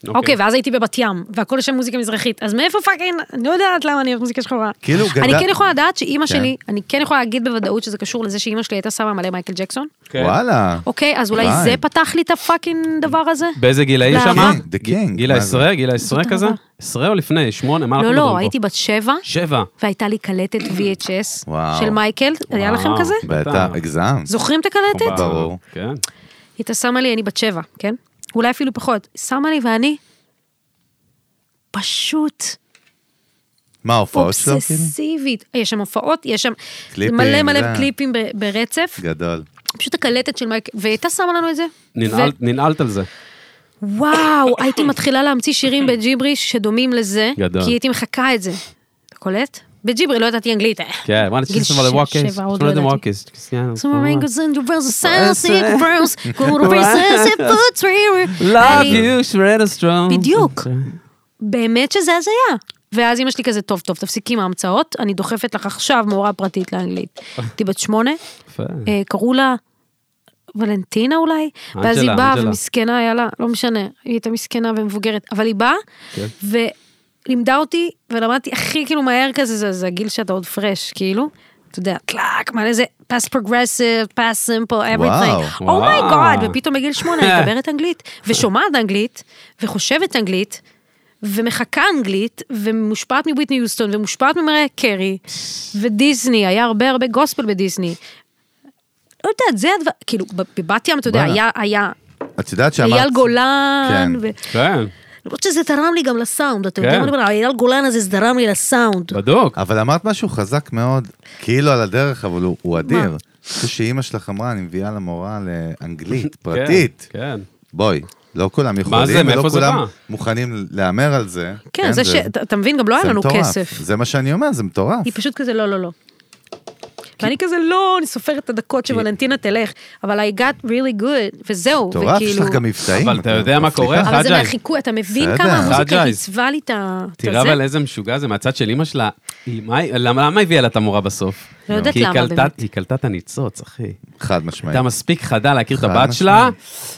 אוקיי, ואז הייתי בבת ים, והכל שם מוזיקה מזרחית, אז מאיפה פאקינג, אני לא יודעת למה אני אוהבת מוזיקה שחורה. כאילו, אני גדל- כן יכולה לדעת שאימא כן. שלי, אני כן יכולה להגיד בוודאות שזה קשור לזה שאימא שלי הייתה שמה מלא מייקל ג'קסון. כן. וואלה. אוקיי, אז אולי וואי. זה פתח לי את הפאקינג דבר הזה? לא, באיזה גילאים למה? שמה? The King, גיל מה העשרה? גיל העשרה אותו כזה? דבר. עשרה או לפני? שמונה? מה אנחנו לא, מדברים לא, פה? הייתי בת שבע, שבע. והייתה לי קלטת VHS וואו. של מייקל, היה לכם וואו. כזה? בטח, הגזם. זוכרים את הקלטת? ברור. כן. הייתה שמה לי, אני בת שבע, כן? אולי אפילו פחות. שמה לי ואני פשוט מה ההופעות שלו? כאילו? אובססיבית. יש שם הופעות, יש שם קליפים, מלא מלא זה. קליפים ב- ברצף. כאילו? גדול. פשוט הקלטת של מייק, והיא הייתה שמה לנו את זה. ננעל- ננעלת על זה. וואו, הייתי מתחילה להמציא שירים בג'יבריש שדומים לזה, גדול. כי הייתי מחקה את זה. אתה קולט? בג'יברי לא ידעתי אנגלית. כן, וואלה, גיל תשמע לזה ש- וואקס. שבע, עוד תשמע לזה לא וואקס. So נכון. my אוקיי. mind goes into verse of Verse. sassy verse, go to verses and puts me- Love אני- you, shred a strong. בדיוק. כן, באמת שזה הזיה. ואז אמא שלי כזה, טוב, טוב, תפסיקי עם ההמצאות, אני דוחפת לך עכשיו מורה פרטית לאנגלית. הייתי בת שמונה, יפה. אה, קראו לה ולנטינה אולי, ואז היא אנג'לה, באה אנג'לה. ומסכנה, היה לה, לא משנה, היא הייתה מסכנה ומבוגרת, אבל היא באה, כן. ולימדה אותי, ולמדתי הכי כאילו מהר כזה, זה, זה הגיל שאתה עוד פרש, כאילו. אתה יודע, קלאק, מלא זה past progressive, past simple, everything. וואו. אומי גאד, ופתאום בגיל שמונה אני מדברת אנגלית, ושומעת אנגלית, וחושבת אנגלית, ומחכה אנגלית, ומושפעת מוויטני יוסטון, ומושפעת ממריה קרי, ודיסני, היה הרבה הרבה גוספל בדיסני. לא יודעת, זה הדבר, כאילו, בבת ים, אתה יודע, וואלה. היה, היה, את יודעת שאמרת... אייל גולן, כן. ו- כן, למרות שזה תרם לי גם לסאונד, אתה יודע כן. מה אני אומר? אייל גולן הזה, זה תרם לי לסאונד. בדוק. אבל אמרת משהו חזק מאוד, כאילו על הדרך, אבל הוא- הוא אדיר. מה? זה שאימא שלך אמרה, אני מביאה לה מורה לאנגלית פרטית. כן. כן. בואי, לא כולם זה? יכולים, מאיפה ולא זה בא? כולם מוכנים להמר על זה. כן, זה ש... אתה אתה מבין, גם לא היה זה לנו מטורף. כסף. זה מה שאני אומר, זה מטורף. היא פשוט כזה, לא, לא, לא. ואני כזה, לא, אני סופרת את הדקות שוולנטינה תלך, אבל I got really good, וזהו, מטורף, יש וכאילו... לך גם מבטאים. אבל אתה יודע מה קורה? מצליחה. אבל זה חג'אי. מהחיקוי, אתה מבין בסדר. כמה המוזיקה חג'אי. עיצבה לי את ה... את תראה הזה? אבל איזה משוגע זה מהצד של אימא שלה. היא- מה היא- למה למה הביאה לה את המורה בסוף? לא יודעת כי היא למה, קלטה- באמת. היא קלטה את הניצוץ, אחי. חד משמעית. הייתה מספיק חדה להכיר את חד הבת שלה,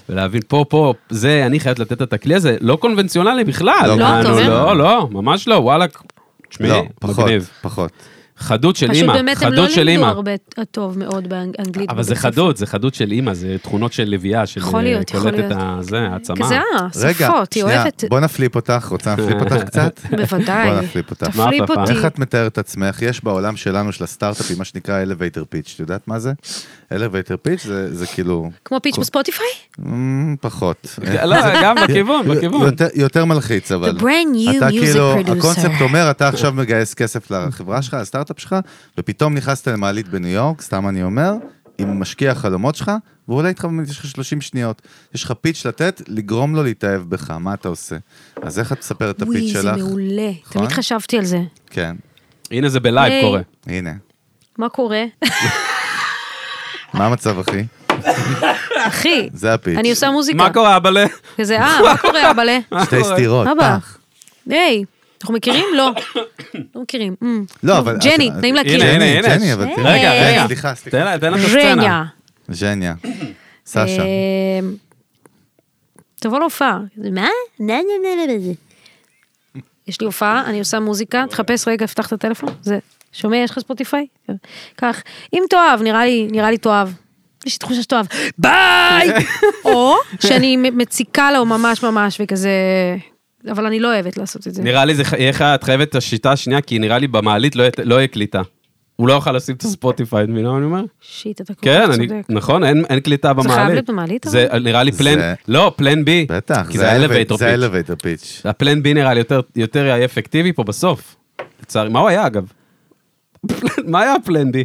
ולהבין פה, פה, זה, אני חייבת לתת לה את הכלי הזה, לא קונבנציונלי בכלל. לא, מה, אתה נו, אומר? לא, לא, ממש לא, וואלכ, תשמעי, לא, פחות, מגניב. פחות. חדות של פשוט אימא, באמת הם לא חדות של לימדו אימא. הרבה טוב מאוד באנגלית. אבל זה בבית ספר. חדות, זה חדות של אימא, זה תכונות של לביאה, של אה, יכול להיות, יכול קולטת להיות. הזה, העצמה. כזה, אה, רגע, שפות, היא שנייה, אוהבת... בוא נפליפ אותך, רוצה להפליפ אותך קצת? בוודאי. בוא נפליפ אותך. תפליפ מה אותי. הפעם? איך את מתארת את עצמך? יש בעולם שלנו של הסטארט-אפים מה שנקרא elevator pitch, את יודעת מה זה? elevator pitch זה, זה כאילו... כמו פיץ' בספוטיפיי? אמ, פחות. לא, גם בכיוון, בכיוון. יותר, יותר מלחיץ אבל. The brand new אתה music כאילו, producer. הקונספט אומר, אתה עכשיו מגייס כסף לחברה שלך, לסטארט-אפ שלך, ופתאום נכנסת למעלית בניו יורק, סתם אני אומר, עם משקיע החלומות שלך, והוא עולה איתך, באמת, יש לך 30 שניות. יש לך פיץ' לתת, לגרום לו להתאהב בך, מה אתה עושה? אז איך את מספרת את וואי, הפיץ' זה שלך? מעולה. נכון? תמיד חשבתי על זה. כן, הנה זה בלייב היי. קורה. הנה. מה קורה? מה המצב, אחי? אחי, זה הפיץ'. אני עושה מוזיקה. מה קורה, אבאלה? כזה, אה, מה קורה, אבאלה? שתי אה, סטירות. אבא, פח. היי, אנחנו מכירים? לא. לא מכירים. אמ. לא, טוב, אבל- ג'ני, אז- נעים להכיר. הנה, הנה, ג'ני, הנה. ג'ני, אבל תראי. רגע, היי. רגע. סליחה, סליחה. תן לה, תן לה את הסצנה. ז'ניה. ז'ניה. סשה. אמ, תבוא להופעה. מה? נה נה נה נה נה. יש לי הופעה, אני עושה מוזיקה, תחפש רגע, פתח את הטלפון, זה, שומע, יש לך ספוטיפיי? כך, אם תאהב, נראה לי, נראה לי תאהב. יש לי תחושה שתאהב, ביי! או שאני מציקה לו ממש ממש וכזה, אבל אני לא אוהבת לעשות את זה. נראה לי זה ח- יהיה לך, את חייבת את השיטה השנייה, כי נראה לי במעלית לא יהיה- לא יהיה קליטה. הוא לא יוכל לשים את הספוטיפיי, את מבינה מה אני אומר? שיט, אתה כל כן, כך אני, צודק. נכון, אין, אין קליטה במעלית. חייב להיות במעלית, זה אבל? נראה לי פלן, זה- לא, פלן בי. בטח, כי זה אלווייטור זה פיץ'. אלווייטר פיץ'. הפלן בי נראה לי יותר, יותר היה אפקטיבי פה בסוף. לצערי, מה הוא היה אגב? מה היה הפלן בי?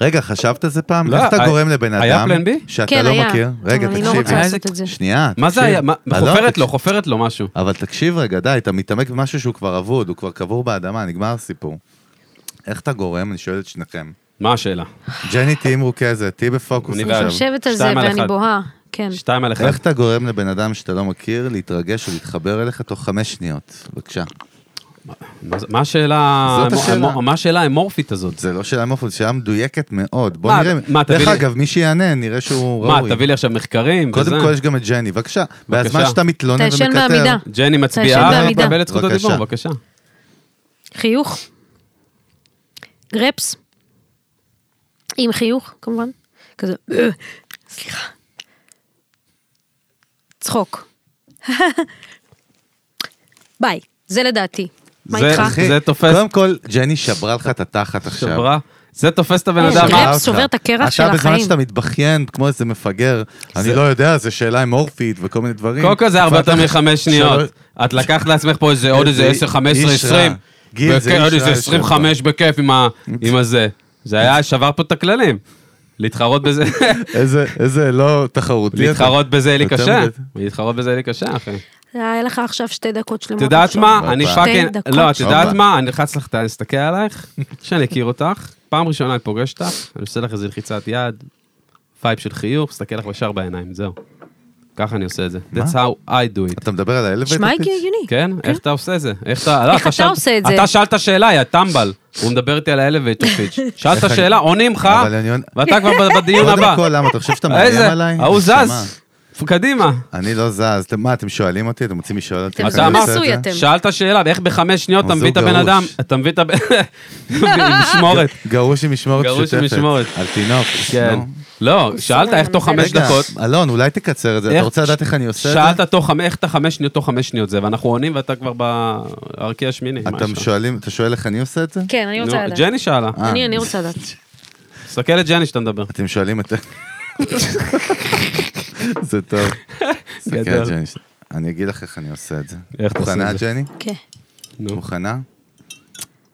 רגע, חשבת על זה פעם? לא, איך אתה היה- גורם לבן היה אדם plan B? שאתה כן, לא היה. מכיר? אבל רגע, אני לא רוצה תקשיב. לעשות את זה. שנייה, מה זה תקשיב. היה? מה- לא, חופרת תקשיב. לו, חופרת לו משהו. אבל תקשיב רגע, די, אתה מתעמק במשהו שהוא כבר אבוד, הוא כבר קבור באדמה, נגמר הסיפור. איך אתה גורם? אני שואל את שניכם. מה השאלה? ג'ני, תהיי מרוכזת, תהיי בפוקוס אני אני בעד. עכשיו. חושבת על זה שתיים על ואני אחד. בוהה, כן. שתיים על אחד. איך אתה גורם לבן אדם שאתה לא מכיר להתרגש או להתחבר אליך תוך חמש שניות? בבקשה. מה זה- מה השאלה זאת האמו- השאלה. האמו- מה השאלה האמורפית הזאת? זה לא שאלה מופת, שאלה מדויקת מאוד. בוא מה, נראה. מה, תביא דרך לי- אגב, מי שיענה, נראה שהוא מה, ראוי. תביא לי עכשיו מחקרים? קודם וזה? כל יש גם את ג'ני, בבקשה. בזמן בבקשה. שאתה מתלונן תעשן ומקטר. בעמידה. ג'ני תעשן מצביעה, בעמידה. מקבלת זכות בבקשה. הדיבור, בבקשה. חיוך. גרפס. עם חיוך, כמובן. כזה, "אה, סליחה. צחוק. ביי, זה לדעתי. מה זה- איתך? אחי, זה תופס- קודם כל, ג'ני שברה לך את התחת עכשיו. שברה. זה תופס את הבן אה, אדם. שברה. שברה גרפס אותך. שובר את הקרח של אתה בזמן החיים. שאתה מתבכיין כמו איזה מפגר, אני זה- לא יודע, זה שאלה עם אורפית וכל מיני דברים. קודם כל זה הרבה יותר ואתה- שלוש- מחמש שניות. את לקחת לעצמך פה איזה עוד איזה זה 10, 15, איש רע. 20. גיל, זה בכ- איש עוד רע איזה יושב 25 בכיף עם ה- עם הזה. זה היה, שבר פה את הכללים. להתחרות בזה, איזה- איזה לא תחרותי. אתה. להתחרות בזה יהיה לי יותר קשה. מדי. להתחרות בזה יהיה לי קשה, אחי. היה לך עכשיו שתי דקות שלמות. את יודעת לחשוב. מה? אני שתי פאקינג... דקות. לא, את יודעת אופה. מה? אני נלחץ לך, להסתכל עלייך, שאני אכיר אותך. פעם ראשונה אני פוגש אותך, אני עושה לך איזה לחיצת יד, וייב של חיוך, מסתכל לך ישר בעיניים, זהו. ככה אני עושה את זה. That's how I do it. אתה מדבר על האלף נשמע הגיוני. כן? איך אתה עושה זה? איך אתה... לא, אוקיי. איך אתה שאלת- עושה את זה? אתה שאלת שאלה, יא טמבל. הוא מדבר איתי על האלווייטר פיץ'. שאלת אני- שאלה, עונים לך, אבל אני עונה- ואתה כבר ב- בדיון קודם הבא. כל, למה? אתה חושב שאתה מאיים איזה? עליי? ההוא נשמה. זז. קדימה. אני לא זז. אתם- מה, אתם שואלים אותי? אתם רוצים לשאול אותי? אתם איך אתה אני אמרת- עושה את זה? אתם. שאלת שאלה, ואיך בחמש שניות אתה אז מביא את הוא הבן אדם, גרוש. אתה מביא את הבן... משמורת. גרוש עם משמורת גרוש עם משותפת. משמורת. על תינוק. כן. נו. לא, שאלת איך תוך חמש רגע, דקות. אלון, אולי תקצר את זה. איך- אתה רוצה לדעת איך אני עושה את זה? שאלת תוך חמש, איך אתה חמש שניות, תוך חמש שניות זה, ואנחנו עונים ואתה כבר בערכי השמיני. מה אתם יש לך? שואלים, אתה שואל איך אני עושה את זה? כן, אני רוצה נו, לדעת. ג'ני שאלה. אה. אני, אני רוצה לדעת. תסתכל לג'ני שאתה מדבר. אתם שואלים את... זה טוב. גדול. גדול. אני אגיד לך איך אני עושה את זה. איך אתה עושה מוכנה, את זה? ג'ני? כן. נו. מוכנה?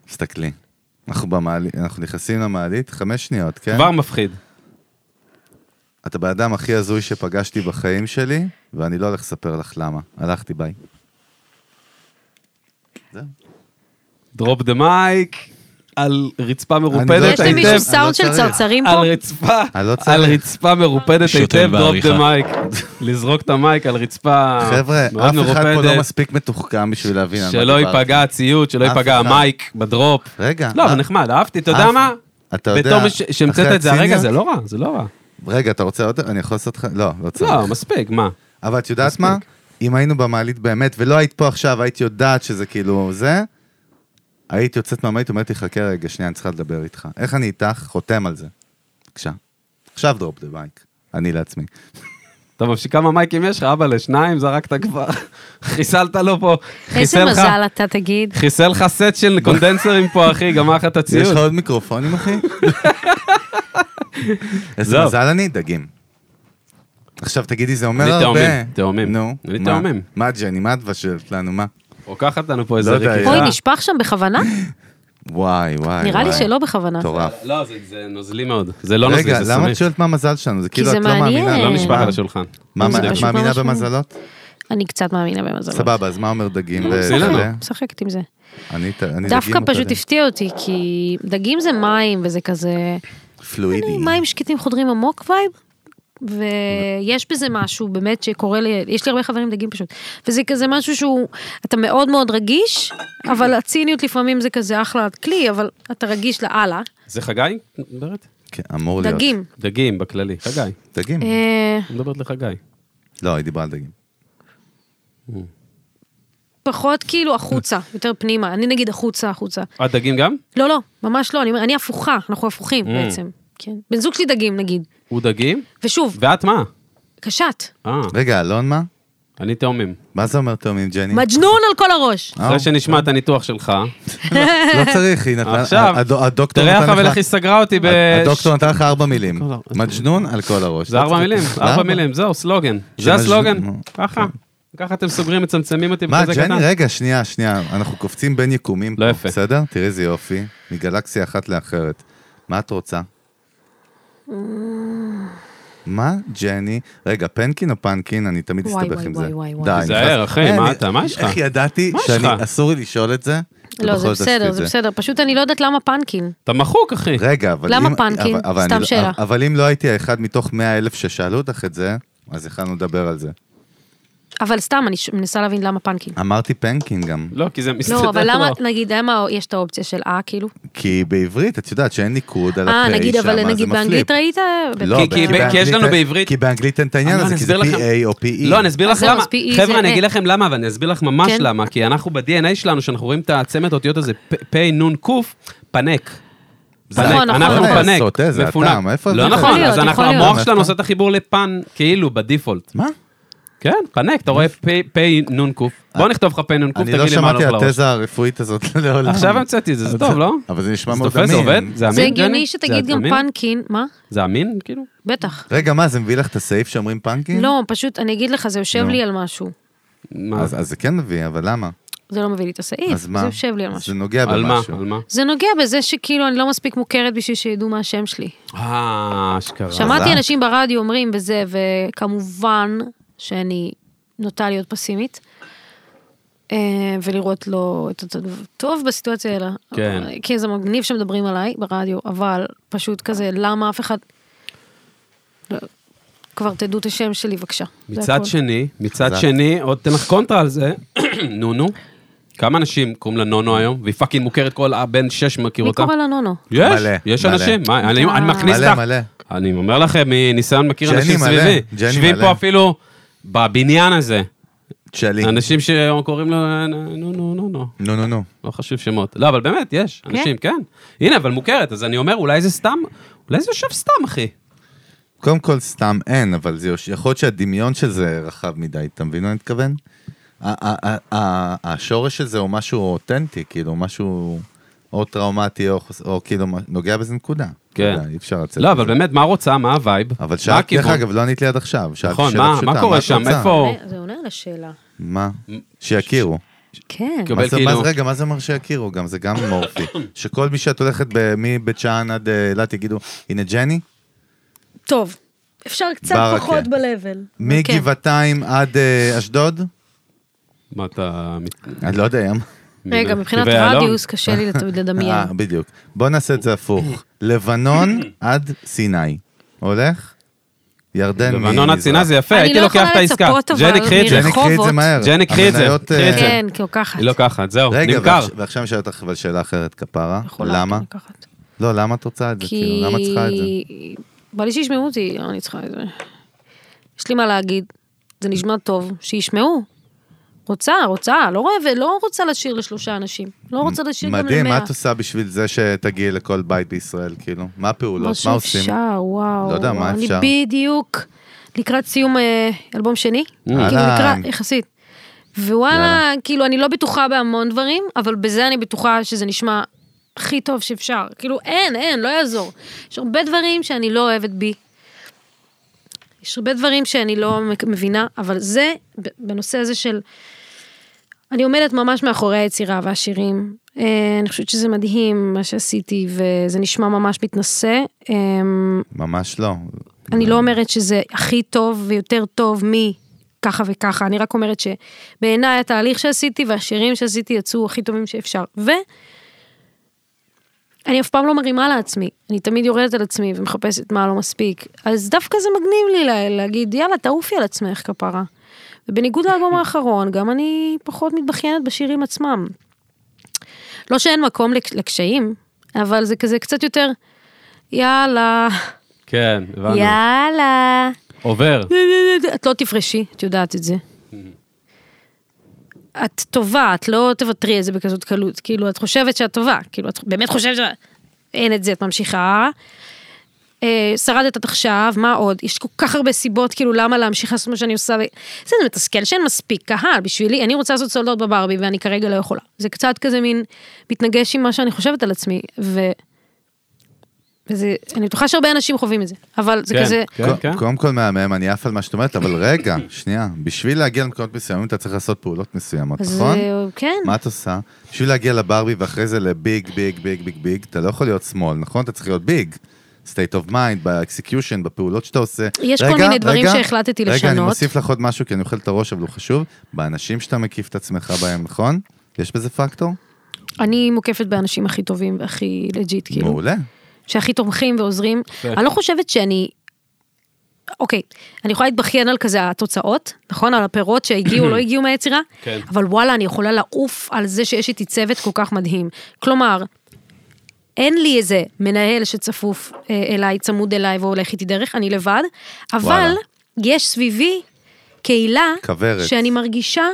תסתכלי. אנחנו במעלית, אנחנו נכנסים למעלית, חמש שניות, כן? כבר מפחיד. את הבן אדם הכי הזוי שפגשתי בחיים שלי, ואני לא הולך לספר לך למה. הלכתי, ביי. דרופ דה מייק, על רצפה לא מרופדת יש למישהו טעיתם, היטב. אני לא סאונד של צריך. צרצרים על פה? רצפה, אני לא על צריך. רצפה מרופדת שותל היטב, דרופ דה בעריכה. מייק. לזרוק את המייק על רצפה חבר'ה, מאוד אף אחד פה לא מרופדת. מספיק מתוחכם בשביל להבין כן, על מה שלא דיברתי. ייפגע הציוד, שלא אף ייפגע אחד. המייק בדרופ. רגע. לא, אה, אבל נחמד, אהבתי, אתה יודע אף- מה? אתה יודע, בתור מי ש- שהמצאת אחרי את זה הרגע, הציניות- זה לא רע, זה לא רע. רגע, אתה רוצה עוד? אני יכול לעשות לך? לא, לא צריך. לא, מספיק, מה? אבל את יודעת מה? אם היינו במעלית באמת, ולא היית פה עכשיו, היית יודעת שזה כאילו זה, היית יוצאת מהמעלית, אומרת לי, חכה רגע, שנייה, אני צריכה לדבר איתך. איך אני איתך? חותם על זה. בבקשה. עכשיו דרופ דה בייק. אני לעצמי. אתה ממשיך כמה מייקים יש לך, אבא לשניים זרקת כבר, חיסלת לו פה, איזה חיסל לך, מזל אתה תגיד. חיסל לך סט של קונדנסרים פה אחי, גמר לך את יש לך הציוד. עוד מיקרופונים, אחי? איזה זהו. מזל אני? דגים. עכשיו תגידי, זה אומר אני הרבה. תאומים, תאומים. נו, אני מה? תאומים. מה ג'ני, מה הדבשת לנו, מה? רוקח אותנו פה איזה לא יודע, ריקיסה. אוי, נשפך שם בכוונה? וואי, וואי, וואי. נראה לי שלא בכוונה. מטורף. לא, זה- זה נוזלי מאוד, זה לא נוזלי, רגע, זה למה את סמיך. שואלת מה המזל שלנו? זה כאילו זה את לא מעניין. מאמינה. לא אה, נשפך על השולחן. מה, זה מה- את פשוט מאמינה ממש לא. מעניין. במזלות? אני קצת מאמינה במזלות. סבבה, אז מה אומר דגים? ו- זה לנו. זה? משחקת עם זה. אני ת- אני דווקא דגים פשוט וכאלה. הפתיע אותי, כי דגים זה מים, וזה כזה... פלואידי. מים שקטים חודרים עמוק וייב, ויש בזה משהו באמת שקורה לי, יש לי הרבה חברים דגים פשוט, וזה כזה משהו שהוא, אתה מאוד מאוד רגיש, אבל הציניות לפעמים זה כזה אחלה כלי, אבל אתה רגיש לאללה. זה חגי? מדברת? כן, אמור להיות. דגים. דגים בכללי, חגי. דגים. אה, מדברת לחגי. לא, היא דיברה על דגים. פחות כאילו החוצה, יותר פנימה. אני נגיד החוצה, החוצה. אה, דגים גם? לא, לא, ממש לא, אני, אומר- אני הפוכה, אנחנו הפוכים בעצם. כן. בן זוג שלי דגים נגיד. הוא דגים? ושוב, ואת מה? קשת. אה, רגע, אלון מה? אני תאומים. מה זה אומר תאומים, ג'ני? מג'נון על כל הראש. אה, אחרי שנשמע את הניתוח שלך, לא צריך, היא נתנה... עכשיו, הד- הדוקטור תראה נתן איך אבל אה, לך- אה, איך היא סגרה אותי ב... הדוקטור אה? נתן לך ארבע מילים. כל הראש. מג'נון על כל הראש. לא זה ארבע מילים, ארבע למה? מילים, זהו, סלוגן. זה שמש- הסלוגן, נו, ככה. ככה אתם סוגרים, מצמצמים אותי אה, אוקיי. מה, בכזה קטן. ג'ני, רגע, שנייה, שנייה, אנחנו קופצים בין יקומים. לא פה, יפה. בסדר? תראי איזה יופי, מגלקסיה אחת לאחרת. מה את רוצה? מה, ג'ני? רגע, פנקין או פנקין? אני תמיד וואי, אסתבך וואי, עם זה. וואי, וואי, וואי. די, אני תיזהר, נכנס- אחי, אה, מה אני- אתה? מה יש לך? איך ידעתי מה יש שאני, לך? אסור לי לשאול את זה? לא, ובכל זה זאת עשיתי בסדר, את זה בסדר. פשוט אני לא יודעת למה פנקין. אתה מחוק, אחי. רגע, אבל למה אם- פנקין? אבל- אבל סתם אני לא- שאלה. אבל אם לא הייתי האחד מתוך 100 אלף ששאלו אותך את זה, אז יכלנו לדבר על זה. אבל סתם, אני ש- מנסה להבין למה פנקין. אמרתי פנקין גם. לא, כי זה מסתדר. לא, אבל למה, לו. נגיד, למה יש את האופציה של אה, כאילו? כי בעברית, את יודעת שאין ניקוד על אה, הפ' נגיד, שם, אז אבל זה נגיד מפליפ. באנגלית ראית? לא, כי- כי- באנגלית- כי יש לנו בעברית- אה, לא, כי באנגלית אין את העניין אני הזה, כי זה אסביר לכם. PA או E. PE. לא, אני אסביר אז לך זהו, למה. אז PE חבר'ה, זה אני אגיד אה. לכם למה, אבל אני אסביר לך ממש כן. למה. כי אנחנו ב-DNA שלנו, שאנחנו רואים את הצמד האותיות הזה, פ- פ' נ' ק', פנק. נכון, פנק. נכון. אנחנו אין מה פנק, לעשות, אה, זה מפונק. הטעם, איפה לא הבאת? נכון, יכול אז להיות, אנחנו, יכול המוח להיות. שלנו עושה את החיבור לפן, כאילו, בדיפולט. מה? כן, פנק, אתה רואה פ' פ' נ' ק'. בוא נכתוב לך פ' נ' ק', אני תגיד לא לי מה שמעתי הולך על לראש. התזה הרפואית הזאת לעולם. עכשיו המצאתי את זה, זה טוב, לא? אבל זה נשמע זה מאוד תופס, זה עובד? אמין. זה זה אמין, ג'ני? הגיוני שתגיד זה גם אמין? פנקין, מה? זה אמין, כאילו? בטח. רגע, מה, זה מביא לך את הסעיף שאומרים פנקין? לא, פשוט, אני אגיד לך, זה יושב נו. לי על משהו. מה אז זה? אז זה כן מביא, אבל למה? זה לא מביא לי את הסעיף, אז מה? זה יושב לי על משהו. זה נוגע על מה? במשהו. על מה? זה נוגע בזה שכאילו אני לא מספיק מוכרת בשביל שידעו מה השם שלי. אה, אשכרה. שמעתי אה. אנשים ברדיו אומרים וזה, וכמובן שאני נוטה להיות פסימית, אה, ולראות לו את אותו דבר טוב בסיטואציה האלה. כן. אבל- כי זה מגניב שמדברים עליי ברדיו, אבל פשוט כזה, למה אף אחד... לא, כבר תדעו את השם שלי בבקשה. זה מצד הכל. שני, מצד חזק. שני, עוד תן לך קונטרה על זה, נונו. כמה אנשים קוראים לה נונו היום, והיא פאקינג מוכרת כל הבן שש מכיר מי אותה? קורא לה נונו? יש, מלא, יש מלא. אנשים, מה, אני אני מכניס מלא, לך, מלא. אני אומר לכם מניסיון מכיר ג'ני אנשים מלא, סביבי, ג'ני יושבים מלא. פה אפילו בבניין הזה, תשאלי. אנשים שקוראים לו אה, נו נו נו נו, נו, נו, נו. לא חשוב שמות, לא אבל באמת יש, כן? אנשים כן, הנה אבל מוכרת, אז אני אומר אולי זה סתם, אולי זה יושב סתם אחי, קודם כל, סתם אין, אבל זה יוש- יכול להיות שהדמיון של זה רחב מדי, אתה מבין מה אני מתכוון? ה- ה- ה- ה- השורש של זה הוא משהו אותנטי, כאילו, משהו או טראומטי, או חוס- או כאילו, מה- נוגע בזה נקודה. אתה כן. יודע, אי אפשר לצאת לא מזה. אבל באמת מה רוצה, מה הווייב, אבל מה שאלת, דרך הכיוון? אגב, לא ענית לי עד עכשיו. שאלתי נכון, שאלה מה- פשוטה, מה קורה את שם, רוצה? איפה, זה עונה על השאלה. מה? שיכירו. כן. קבל מה זה, כאילו- מה זה, רגע, מה זה אומר שיכירו גם? זה גם מורפי. שכל מי שאת הולכת ב- מבית שאן עד אה, אילת יגידו, הנה ג'ני, טוב, אפשר קצת ברכה. פחות ב-level. כן?" מגבעתיים עד אה, אשדוד? מה אתה, אני לא יודע. כן. רגע, מבחינת נתיבי איילון? רדיוס קשה לי לת- לדמיין. לא? אה, בדיוק. בוא נעשה את זה הפוך. לבנון עד סיני. הולך? ירדן מזרח. לבנון עד סיני זה יפה, אני הייתי לא לוקח יכולה את העסקה. לצפות, אבל לא ג'ני, קחי את זה. ג'ני, קחי את זה רחובות. מהר. ג'ני, קחי את זה, המניות, קחי את זה. אה, כן, כי לוקחת. היא לוקחת, זהו, רגע, נמכר. ועכשיו- ועכשיו אני שואל אותך אבל שאלה אחרת, כפרה. יכולה, למה? כן, לוקחת. לא, למה את רוצה את זה? כי... כאילו, למה את צריכה את זה? בא לי שישמעו אותי, לא, אני צריכה את זה. יש לי מה להגיד, זה נשמע טוב, שישמעו. רוצה, רוצה, לא, רעב, לא רוצה לשיר לשלושה אנשים. לא רוצה לשיר גם למאה. מדהים, מה את עושה בשביל זה שתגיעי לכל בית בישראל, כאילו? מה הפעולות? מה עושים? משהו אפשר, וואו. לא יודע, מה אני אפשר? בדיוק לקראת סיום אה, אלבום שני. כאילו אהלן. לקראת, יחסית. ווואלה, כאילו, אני לא בטוחה בהמון דברים, אבל בזה אני בטוחה שזה נשמע הכי טוב שאפשר. כאילו, אין, אין, לא יעזור. יש הרבה דברים שאני לא אוהבת בי. יש הרבה דברים שאני לא מק- מבינה, אבל זה, ב- בנושא הזה של... אני עומדת ממש מאחורי היצירה והשירים. אה, אני חושבת שזה מדהים מה שעשיתי, וזה נשמע ממש מתנשא. אה, ממש לא. אני לא אומרת שזה הכי טוב ויותר טוב מככה וככה, אני רק אומרת שבעיניי התהליך שעשיתי והשירים שעשיתי יצאו הכי טובים שאפשר. ואני אף פעם לא מרימה לעצמי, אני תמיד יורדת על עצמי ומחפשת מה לא מספיק. אז דווקא זה מגניב לי לה, להגיד, יאללה, תעופי על עצמך כפרה. ובניגוד לאלבום האחרון, גם אני פחות מתבכיינת בשירים עצמם. לא שאין מקום לק- לקשיים, אבל זה כזה קצת יותר, יאללה, כן, הבנו. יאללה. עובר. את לא תפרשי, את יודעת את זה. את טובה, את לא תוותרי על זה בכזאת קלות. כאילו, את חושבת שאת טובה. כאילו, את באמת חושבת ש... אין את זה, את ממשיכה. אה, שרדת עד עכשיו, מה עוד? יש כל כך הרבה סיבות, כאילו, למה להמשיך לעשות מה שאני עושה. ו- זה, זה מתסכל שאין מספיק קהל בשבילי. אני רוצה לעשות סולדות בברבי, ואני כרגע לא יכולה. זה קצת כזה מין מתנגש עם מה שאני חושבת על עצמי, ו... וזה, אני בטוחה שהרבה אנשים חווים את זה, אבל זה כן, כזה... כן, קו- כן. קודם כל מהמם, אני עף על מה שאת אומרת, אבל רגע, שנייה, בשביל להגיע למקומות מסוימים אתה צריך לעשות פעולות מסוימות, אז נכון? אה, כן, מה את עושה? בשביל להגיע לברבי ואחרי זה לביג, ביג, ביג, ביג, ביג, אתה לא יכול להיות שמאל, נכון? אתה צריך להיות ביג. state of mind, באקסקיושן, בפעולות שאתה עושה. יש כל רגע, מיני דברים רגע, שהחלטתי רגע, אני לשנות. מוסיף לך עוד משהו, כי אני אוכל את הראש, אבל הוא חשוב. באנשים שאתה מקיף את עצמך בהם, נכון? יש בזה פקטור? אני מוקפת באנשים הכי טובים והכי לג'יט, כאילו, מעולה. שהכי תומכים ועוזרים. אני לא חושבת שאני אוקיי, אני יכולה להתבכיין על כזה התוצאות, נכון? על הפירות שהגיעו, לא הגיעו מהיצירה, כן. אבל וואלה, אני יכולה לעוף על זה שיש איתי צוות כל כך מדהים. כלומר, אין לי איזה מנהל שצפוף אה, אליי, צמוד אליי והולך איתי דרך, אני לבד, אבל וואלה. יש סביבי קהילה כוורת. שאני מרגישה,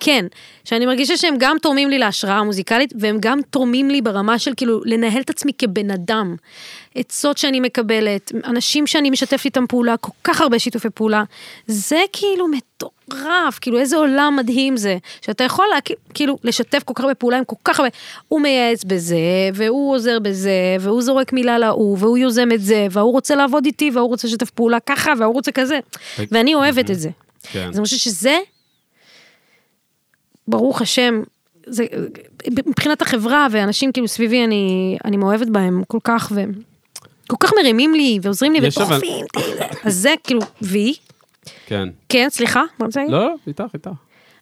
כן, שאני מרגישה שהם גם תורמים לי להשראה המוזיקלית, והם גם תורמים לי ברמה של כאילו לנהל את עצמי כבן אדם. עצות שאני מקבלת, אנשים שאני משתפת איתם פעולה, כל כך הרבה שיתופי פעולה, זה כאילו מטורף, כאילו איזה עולם מדהים זה, שאתה יכול להק- כאילו לשתף כל כך הרבה פעולה עם כל כך הרבה, הוא מייעץ בזה, והוא עוזר בזה, והוא זורק מילה להוא, והוא יוזם את זה, וההוא רוצה לעבוד איתי, וההוא רוצה לשתף פעולה ככה, וההוא רוצה כזה, ואני אוהבת את זה. כן. אז אני חושבת שזה, ברוך השם, זה, מבחינת החברה ואנשים כאילו סביבי, אני, אני מאוהבת בהם כל כך, והם כל כך מרימים לי ועוזרים לי יש אבל- ודוחפים. אז זה כאילו, והיא, כן. כן, סליחה, מה זה? לא, לא, איתך, איתך.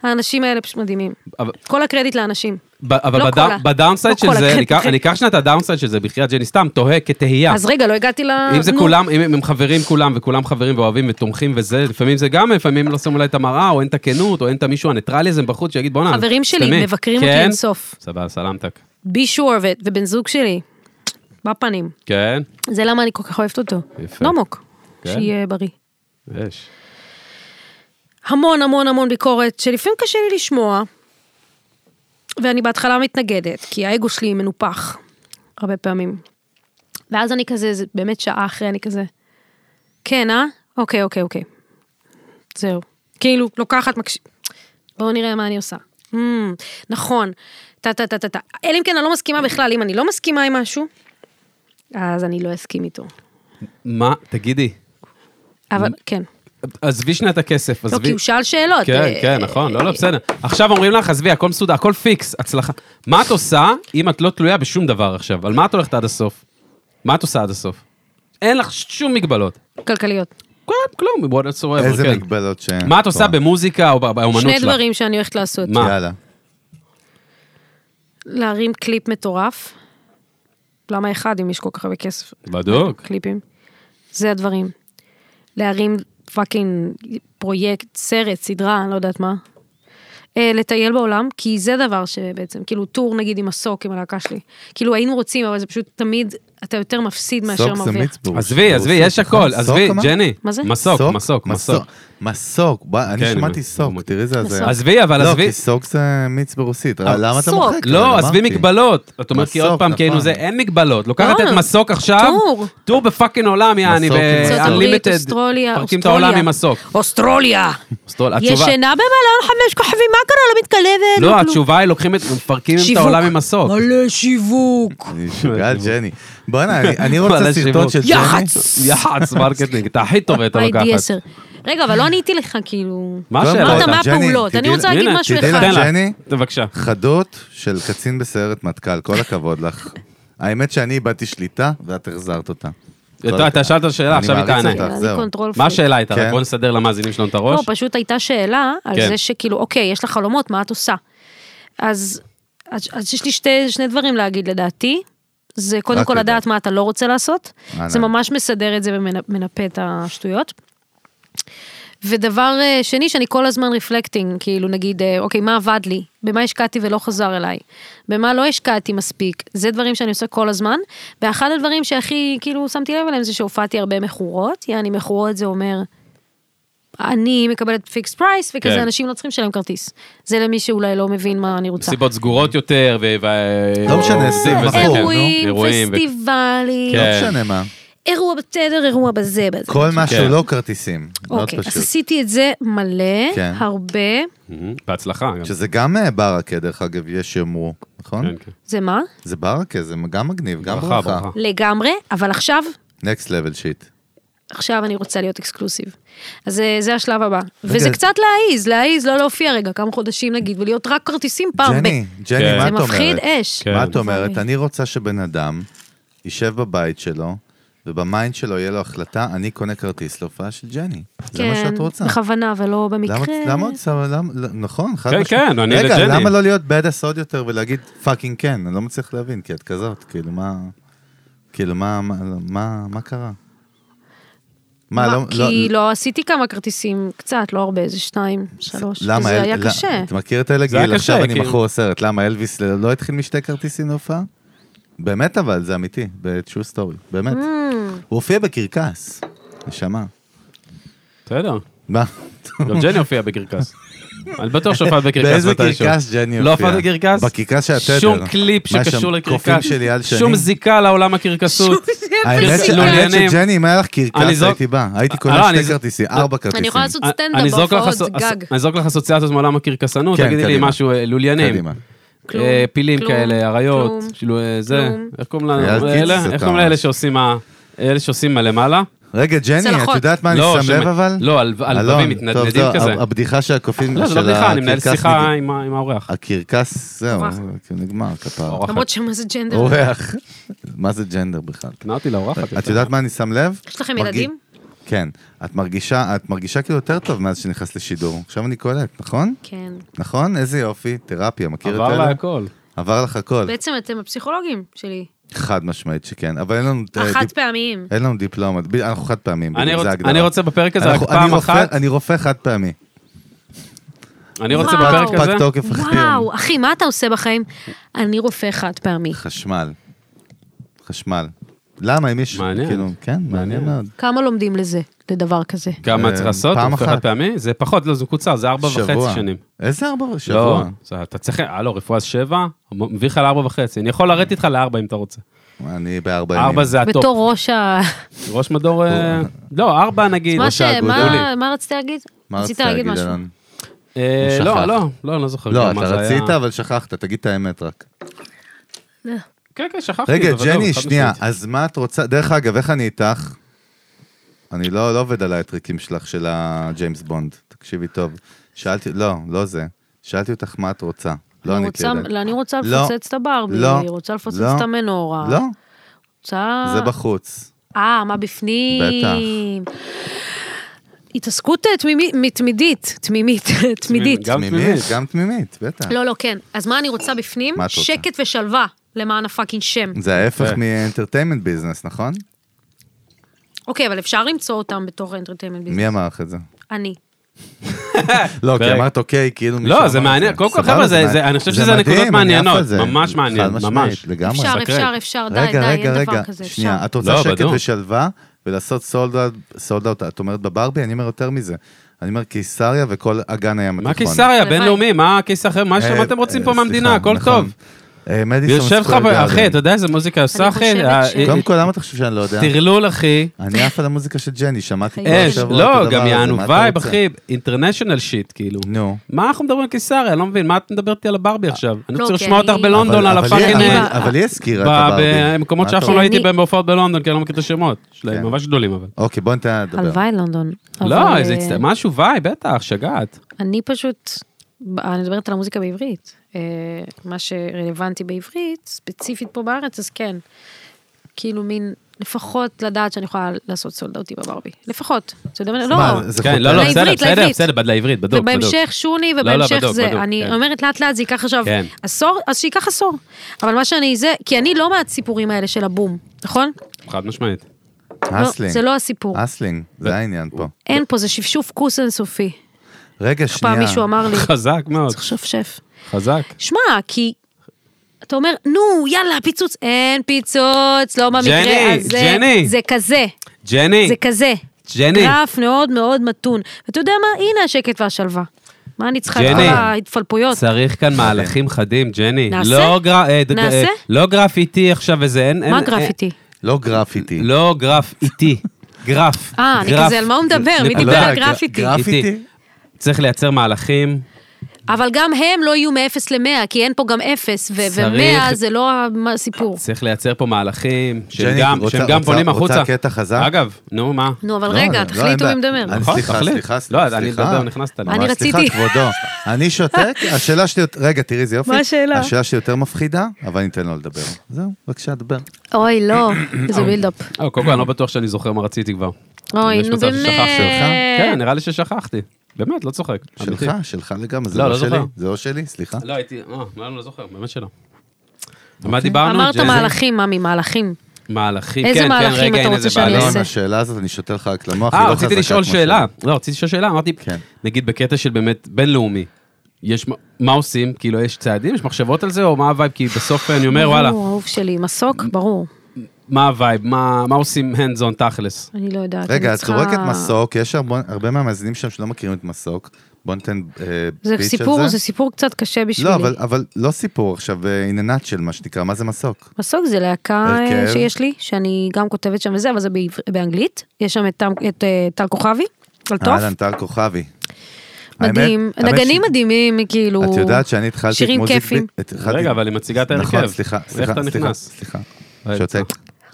האנשים האלה פשוט מדהימים. אבל- כל הקרדיט לאנשים. ב- אבל לא בד- כל ה- בדאונסייד לא של כל זה, הקטע. אני אקח- אני אקח שנייה את הדאונסייד של זה, בחייאת ג'ני, סתם תוהה כתהייה. אז רגע, לא הגעתי ל... אה. אם זה נו. כולם, אם הם חברים כולם, וכולם חברים ואוהבים ותומכים וזה, לפעמים זה גם, לפעמים לא שמו אולי את המראה, או אין את הכנות, או אין את המישהו הניטרלי הזה בחוץ שיגיד בואנה. חברים שלי תמי." מבקרים אותי כן? אינסוף. סבבה, סלמתק. בי שור ובן זוג שלי, בפנים. כן, זה למה אני כל כך אוהבת אותו. יפה. נומוק, כן. שיהיה בריא. יש. המון המון המון ביקורת, שלפעמים קשה לי לשמוע, ואני בהתחלה מתנגדת, כי האגו שלי מנופח, הרבה פעמים. ואז אני כזה, זה באמת שעה אחרי, אני כזה, כן, אה? אוקיי, אוקיי, אוקיי. זהו. כאילו, לוקחת, מקש... בואו נראה מה אני עושה. Mm, נכון, טה טה טה טה טה. אלא אם כן אני לא מסכימה בכלל, אם אני לא מסכימה עם משהו, אז אני לא אסכים איתו. מה, תגידי, אבל, כן. עזבי שנייה את הכסף, לא, כי עזבי. הוא שאל שאלות. כן, אה, כן, נכון, לא, לא, אה, בסדר. עכשיו אומרים לך, עזבי, הכל מסודר, הכל פיקס, הצלחה. מה את עושה אם את לא תלויה בשום דבר עכשיו? על מה את הולכת עד הסוף? מה את עושה עד הסוף? אין לך שום מגבלות. כלכליות. כלום, כלום, בוא נעצור. איזה כן. מגבלות ש... מה את עושה במוזיקה או בא- באמנות שלך? שני דברים שאני הולכת לעשות. מה? יאללה. להרים קליפ מטורף. למה אחד אם יש כל כך הרבה כסף? בדוק. קליפים. זה הדברים. להרים פאקינג פרויקט, סרט, סדרה, אני לא יודעת מה. אה, לטייל בעולם, כי זה דבר שבעצם, כאילו טור נגיד עם מסוק, עם הלהקה שלי. כאילו היינו רוצים, אבל זה פשוט תמיד, אתה יותר מפסיד מאשר סוק זה מרוויח. מיצבור. עזבי, עזבי, יש הכל, עזבי, ג'ני. מה זה? מסוק, מסוק, מסוק. מסוק, בוא, אני כן, שמעתי אני- סוק, תראי זה הזיה. עזבי, אבל לא, עזבי. כי סוק זה מיץ ברוסית, אבל- למה אתה סוק. מוחק? לא, אבל עזבי כן, אמרתי. מגבלות. את אומרת כי עוד מסוק, פעם, נכון. כאילו זה, אין מגבלות. לוקחת לא, את מסוק עכשיו, טור. טור בפאקינג עולם, יעני, מסוק עם ארצות הברית, ב-unlimited. אוסטרוליה, אה, פרקים את אוסטרוליה. העולם עם מסוק. אוסטרוליה! אוסטרוליה, התשובה- ישנה במלון חמש כוכבים, מה קרה? לא מתקלבת? לא, כלום. התשובה היא לוקחים את, מפרקים את שיווק. העולם עם מסוק. מלא שיווק. אני שוגע, ג'ני. בואנה, אני- אני רוצה וואלה, סרטון שיווק. של ג'ני. יח"צ. יח"צ מרקטינג, אתה הכי טוב, אתה הייתי לוקחת. עשר. רגע, אבל לא עניתי לך, כאילו... מה לא, השאלה? אמרת, הייתה? מה ג'ני, הפעולות? אני תדעי- רוצה להגיד הנה, משהו תדעי אחד. לך, תן לה. ג'ני. בבקשה. חדות של קצין בסיירת מטכ"ל, כל הכבוד לך. האמת שאני איבדתי שליטה, ואת החזרת אותה. אתה- אתה שאלת שאלה, אני עכשיו היא מעריץ תענה. אותך, אני זהו. קונטרול מה פריק. השאלה הייתה? רק כן. בוא נסדר למאזינים שלנו את לא, הראש. פשוט הייתה שאלה על כן. זה שכאילו, אוקיי, יש לך חלומות, מה את עושה? אז אז- אז יש לי שתי- שני דברים להגיד, לדעתי. זה קודם רק כל לדעת. לדעת מה אתה לא רוצה לעשות. אה, זה לא. ממש מסדר את זה ומנפה את השטויות. ודבר אה, שני, שאני כל הזמן רפלקטינג, כאילו נגיד, אה, אוקיי, מה עבד לי? במה השקעתי ולא חזר אליי? במה לא השקעתי מספיק? זה דברים שאני עושה כל הזמן. ואחד הדברים שהכי, כאילו, שמתי לב אליהם זה שהופעתי הרבה מכורות. יעני, מכורות זה אומר, אני מקבלת פיקס פרייס, וכזה כן. אנשים לא צריכים לשלם כרטיס. זה למי שאולי לא מבין מה אני רוצה. סיבות סגורות יותר, ו... ו- לא משנה, וזה סיב, וזה, נכון. כן. אירועים, אירועים, ו- פסטיבלים, לא כן. משנה מה. אירוע בתדר, אירוע בזה, בזה. כל מה כן. שלא כרטיסים. מאוד אוקיי, אז פשוט. עשיתי את זה מלא, כן. הרבה. מהמם, בהצלחה. גם. שזה גם אה, ברכה, דרך אגב, יש שיאמרו, נכון? כן, כן. זה מה? זה ברכה, זה גם מגניב, גם ברכה, ברכה. ברכה. לגמרי, אבל עכשיו, נקסט לבל שיט. עכשיו אני רוצה להיות אקסקלוסיב. אז אה, זה, זה השלב הבא. וזה רגע. קצת להעיז, להעיז, לא להופיע רגע, כמה חודשים נגיד, ולהיות רק כרטיסים פעם. ג'ני, ב- ג'ני, מה זה את אומרת? מפחיד אש. כן. כן. מה את אומרת? אוי. אני רוצה שבן אדם יישב בבית שלו, ובמיינד שלו יהיה לו החלטה, אני קונה כרטיס להופעה של ג'ני. זה מה שאת רוצה. כן, בכוונה ולא במקרה. למה- למה את שמה, למה- לא, נכון, חד כן, כן, אני רגע, לג'ני. למה לא להיות badass עוד יותר ולהגיד פאקינג כן? אני לא מצליח להבין, כי את כזאת, כאילו מה, כאילו מה, מה- מה, מה קרה? מה, לא... כי לא, עשיתי כמה כרטיסים, קצת, לא הרבה, איזה שתיים, שלוש. למה, זה אל- היה לא- קשה. אתה מכיר את אלה זה היה גיל? עכשיו קשה, אני כאילו. מכור סרט. למה, אלוויס ל- לא התחיל משתי כרטיסים להופעה? באמת אבל, זה אמיתי, ב-True Story, באמת. Mm. הוא הופיע בקרקס, נשמה. בסדר. מה? גם ג'ני הופיע בקרקס. אני בטוח שהופעת בקרקס באיזה מתישהו. קרקס ג'ני לא הופיע? הופעת בקרקס? בקרקס של התדר. לא. שום קליפ מה שם, שקשור קופים לקרקס. של אייל שני. שום זיקה לעולם הקרקסות. האמת ש- לא, האמת לעניינים. שג'ני, אם היה לך אני קרקס, זו- הייתי בא. הייתי לא, קונה אני שתי זו- כרטיסים, ארבע כרטיסים. אני יכולה לעשות סטנדאפ אני אזרוק לך בהופעות, אס- זה גג. אני אזרוק לך אסוציאציות מעולם הקרקסנות, כן, תגידי לי קדימה. משהו, אה, לוליינים. קדימה. כלום, אה, פילים כלום, כאלה, אריות, כלום, כאילו אה, זה, כלום. איך קוראים לנו? אייל קיציס אלה? אתה איך קוראים ממש. לאלה שעושים ה- אלה שעושים מלמעלה? רגע, ג'ני, את צלחות. יודעת מה אני לא, שם שמ- לב אבל? לא, על- על אלון, דברים טוב, מתנדנדים זהו, כזה. ה- הבדיחה שהקופים לא, זה לא של בדיחה, אני מנהל הקרקס שיחה נגמר. עם ה- עם האורח. הקרקס, זהו, אורח. זה נגמר, כפר. אורחת. למרות שמה זה ג'נדר. אורח. מה זה ג'נדר בכלל? קנה אותי לאורחת. את יודעת מה אני שם לב? יש לכם מרגיש- ילדים? כן. את מרגישה, את מרגישה כאילו יותר טוב מאז שנכנסת לשידור. עכשיו אני קולט, נכון? כן. נכון? איזה יופי, תרפיה, מכיר את עבר אלה? לה הכל. עבר לך הכל. בעצם אתם הפסיכולוגים שלי. חד משמעית שכן, אבל אין לנו... אה, החד דיפ- פעמיים. אין לנו דיפלומה, ב- אנחנו חד פעמים, אני בדיוק, רוצ- זה ההגדרה. אני רוצה בפרק הזה רק אנחנו- אני פעם רופא- אחת, אני רופא חד פעמי. אני רוצה וואו. בפרק הזה, פג תוקף אחי. וואו, אחי, מה אתה עושה בחיים? אני רופא חד פעמי. חשמל. חשמל. למה, אם יש... מעניין. כאילו, כן, מעניין מעניין. מאוד. כמה לומדים לזה, לדבר כזה? כמה צריך לעשות, אה, פעם פעם אחת. אחת פעמי, זה פחות, לא, זה קוצר, זה ארבע וחצי שבוע. שנים. איזה ארבע? לא, שבוע. זה- אתה צריך, אה לא, רפואה זה שבע, מביא לך לארבע וחצי, אני יכול לרדת איתך לארבע אם אתה רוצה. אני בארבע ימים. ארבע זה הטופ. בתור ראש ה... ראש מדור, אה, לא, ארבע נגיד. מה ראש ש- מה- האגודה. מה רצית להגיד? מה רצית רצית להגיד, משהו. אלון? אה, הוא שכח. לא, לא, לא, אני לא זוכר. לא, כבר אתה מה זה רצית, היה. לא, אבל שכחת, תגיד את האמת רק. כן, כן, שכחתי. רגע, בוודאות, ג'ני, חד שנייה, משמעית. אז מה את רוצה? דרך אגב, איך אני איתך? אני לא לא עובד על הטריקים שלך, של הג'יימס בונד. תקשיבי טוב. שאלתי, לא, לא זה. שאלתי אותך מה את רוצה. לא אני אני רוצה- כאילו. לא, אני רוצה לא, לפוצץ את הברבי, לא, אני רוצה לפוצץ לא, את המנורה. לא, רוצה... זה בחוץ. אה, מה בפנים? בטח. התעסקות אה, תמימי- מתמידית, תמימית, תמידית. גם תמימית, תמימית. גם תמימית, בטח. לא, לא, כן. אז מה אני רוצה בפנים? מה את רוצה? שקט ושלווה, למען הפאקינג שם. זה ההפך כן. מאנטרטיימנט ביזנס, נכון? אוקיי, אבל אפשר למצוא אותם בתוך האנטרטיימנט ביזנס. מי אמר לך את זה? אני. לא, כי פרק. אמרת אוקיי, כאילו מישהו לא, זה אמר מעניין, את קודם כל סבבה, חבר'ה, זה- מעניין. זה- אני חושב זה שזה מדהים, נקודות אני עף מעניינות, על זה. ממש מעניין, חד משמעית, ממש. לגמרי. אפשר, מסקרן. אפשר, אפשר, די, די, רגע, רגע, אין דבר רגע, כזה. אפשר. שנייה, את רוצה לא, שקט בדיוק. ושלווה ולעשות סולד אאוט, את אומרת בברבי, אני אומר יותר מזה. אני אומר קיסריה וכל אגן הים התיכון. מה קיסריה, הלוואי. בינלאומי, מה קיסר אחר, מה נכון. אה, ש- מה אתם רוצים אה, פה סליחה, מהמדינה, הכל נכון. טוב. אה, מדיסון יושב לך, סקוור ב- אחי, גארדן. אתה יודע איזה מוזיקה עושה, אחי? חושבת אה, ש- אה, קודם כל, למה אתה חושב שאני לא יודע? טרלול, אחי. אני עף על המוזיקה של ג'ני, שמעתי כל אש, השבוע את הדבר לא, הזה, גם מה יענו אתה וייב, רוצה? אחי, אינטרנשיונל שיט, כאילו. נו. מה אנחנו מדברים על קיסריה? אני לא מבין, מה את מדברת איתי על הברבי עכשיו? אני לא, רוצה כי לשמוע אותך אני- בלונדון אבל- על אבל היא- הפאקינג... אבל- אה, אבל היא הזכירה את ב- הברבי. במקומות מה שאף אתה פעם לא אומר? הייתי אני- בהם בהופעות בלונדון, כי אני לא מכיר את השמות. כן. שלהם ממש גדולים, אבל. אוקיי, בוא ניתן לה לדבר. הלוואי לונדון. לא, אבל, זה אה, הצט- משהו וואי, בטח, שגעת. אני פשוט, אני מדברת על המוזיקה בעברית. אה, מה שרלוונטי בעברית, ספציפית פה בארץ, אז כן. כאילו מין, לפחות לדעת שאני יכולה לעשות סולד אותי בברבי. לפחות. אתה יודע מה? מה, לא. זה כן, חותם? לא, לא, לעברית, בסדר, בסדר, לעברית. בסדר, בד- לעברית, בדוק, בדוק. ובהמשך שוני, לא, ובהמשך בדוק, בדוק, זה. אני כן. אומרת לאט לאט זה ייקח עכשיו כן. עשור, אז שייקח עשור. אבל מה שאני זה, כי אני לא מהסיפורים האלה של הבום, נכון? חד משמעית. לא, הסלינג. זה לא הסיפור. אסלינג, זה העניין פה. אין פה, זה שפשוף כוס אינסופי. רגע, שנייה. פעם מישהו אמר לי, חזק מאוד, צריך לשפשף. חזק. שמע, כי... אתה אומר, נו, יאללה, פיצוץ. אין פיצוץ, לא במקרה ג'ני, הזה. ג'ני. זה כזה, ג'ני, זה כזה. ג'ני. גרף מאוד מאוד מתון. ואתה יודע מה? הנה השקט והשלווה. מה אני צריכה את כל ג'ני. ההתפלפויות? צריך כאן מהלכים חדים, ג'ני. נעשה? לא גר- אה, ד- נעשה? אה, לא גרף איטי עכשיו איזה, אין... מה אין- גרפיטי? לא גרפיטי. אה, לא גרף איטי, גרף. אה, אני גרף. כזה, על מה הוא מדבר? מי נקודה. דיבר לא, על גרפיטי? גרף- גרפיטי? איטי. צריך לייצר מהלכים. אבל גם הם לא יהיו מ-0 ל-100, כי אין פה גם 0, ו-100 צריך- זה לא המ- הסיפור. צריך לייצר פה מהלכים, שהם ג'ני, גם- רוצה- שהם גם רוצה- פונים רוצה החוצה. קטע חזק? אגב, נו, מה? נו, אבל לא, רגע, לא, אין תחליטו בעיה. מי מדבר. אני- נכון, סליחה, תחליט. סליחה, לא, סליחה. אני מדבר, נכנסת לי. ממש אני סליחה, רציתי- כבודו. אני שותק, השאלה שלי... רגע, תראי איזה יופי. מה השאלה? השאלה שלי יותר מפחידה, אבל אני אתן לו לדבר. זהו, בבקשה, דבר. אוי, לא, איזה בילדאפ. אה, קודם כל, אני לא בטוח שאני זוכר מה רציתי כבר. אוי, יש נו מצב ששכחתי. כן, באמת. נראה לי ששכחתי. באמת, לא צוחק. אמיתי. שלך, שלך לגמרי, זה לא, לא לא שלי. זוכר. זה לא שלי, סליחה. לא, הייתי, אה, לא, אני לא זוכר, באמת שלא. על מה דיברנו? אוקיי. אמרת ג'ני? מהלכים, ממי, מהלכים. מהלכים, איזה כן, כן, מהלכים רגע, אתה הנה רוצה זה שאני בעלי. לא, אעשה? עם השאלה הזאת אני שותה לך רק למוח, היא אה, לא רציתי חזקה לשאול כמו שאלה. שלי. לא, רציתי לשאול שאלה, אמרתי, כן. נגיד בקטע של באמת בינלאומי, יש, מ- מה עושים? כאילו, יש צעדים? יש מחשבות על זה? או מה הווייב? כי בסוף אני אומר, וואלה, הוא אהוב שלי, מסוק, ברור. מה? מה הווייב? מה מה עושים hands on תכלס? אני לא יודעת. רגע, אני את צריכה- זורקת מסוק, יש הרבה- הרבה מהמאזינים שם שלא מכירים את מסוק. בוא ניתן אה, פיץ' זה על זה. סיפור, זה סיפור קצת קשה בשבילי. לא, אבל, אבל לא סיפור עכשיו, אה, in a nutshell, מה שנקרא, מה זה מסוק? מסוק זה להקה אה, הרכב. שיש לי, שאני גם כותבת שם וזה, אבל זה בעבר- באנגלית. יש שם את טם- את אה, טל כוכבי, על תוף. אהלן, טל כוכבי. מדהים. האמת- האמת נגנים ש- מדהימים, כאילו... את יודעת שאני התחלתי את שירים מוזיק... כיפים. את- התחלתי- רגע, אבל היא מציגה את ההרכב. נכון, סליחה, סליחה, איך אתה סליחה, נכנס? סליחה. אה, שותק, טוב.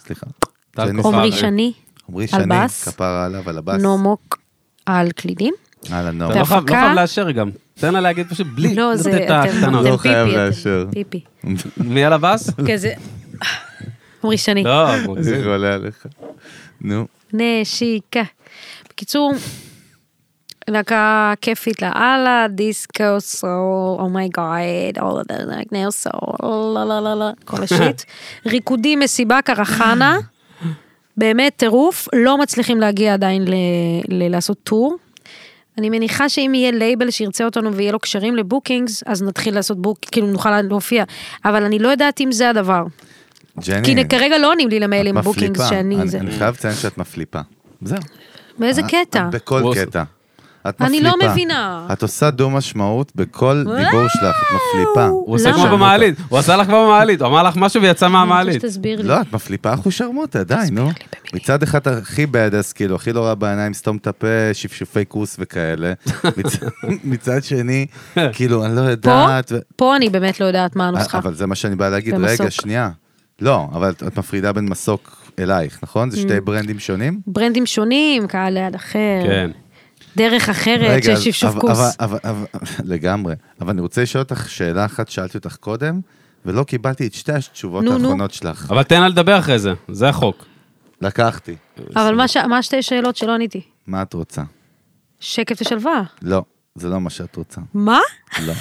סליחה. טל שני- כוכבי. עמרי שני, עמרי על שני, בס. כפרה עליו, על הבאס. נומוק על קלידים. אהלן, אתה לא נומו. טוב. חייב- לא בהפקה- חייב לאשר גם. תן לה להגיד פשוט בלי לא, זה... לתת את אתם- הקטנות. לא אתם חייב פיפי, אתם לאשר. פיפי. מי על הבאס? כזה, עמרי שני. לא, זה מגזים. חולה עליך. נו, נשיקה. בקיצור, להקה כיפית לאללה, דיסקו, סול, oh אומייגאד, אול הדרק נר סול, לא לא לא לא, כל השיט. ריקודים, מסיבה, קרחנה, באמת טירוף, לא מצליחים להגיע עדיין ל- ל- לעשות טור. אני מניחה שאם יהיה לייבל שירצה אותנו ויהיה לו קשרים לבוקינגס, אז נתחיל לעשות בוק, כאילו נוכל להופיע. אבל אני לא יודעת אם זה הדבר. ג'ני. כי כרגע לא עונים לי את למייל עם מפליפה. בוקינגס שאני... אני- זה- אני חייב אה, לציין שאת מפליפה. זהו. באיזה את- קטע? את בכל וואו. קטע. את אני מפליפה. לא מבינה. את עושה דו משמעות בכל דיבור שלך, את מפליפה. הוא עושה למה? כמו במעלית, הוא עשה לך כמו במעלית, הוא אמר לך משהו ויצא אני מהמעלית. רוצה שתסביר לי. לא, את מפליפה אחושרמוטה, די, נו. מצד אחד הכי badass, כאילו, הכי לא רע בעיניים, סתום את הפה, שפשופי כוס וכאלה. מצ- מצד שני, כאילו, אני לא יודעת... ו- אה, פה אני באמת לא יודעת מה הנוסחה. אבל זה מה שאני בא להגיד, רגע, ומסוק. שנייה. לא, אבל את- את מפרידה בין מסוק אלייך, נכון? זה Mm. שתי ברנדים שונים? ברנדים שונים, קהל ליד אחר, כן. דרך אחרת של רגע, אז- שפשוף אבל- כוס. אבל- אבל- אבל- לגמרי. אבל אני רוצה לשאול אותך שאלה אחת, שאלתי אותך קודם, ולא קיבלתי את שתי התשובות נו, נו. האחרונות שלך. אבל תן לה לדבר אחרי זה, זה החוק. לקחתי. אבל מה ש- מה שתי שאלות שלא עניתי? מה את רוצה? שקט ושלווה. לא, זה לא מה שאת רוצה. מה? לא.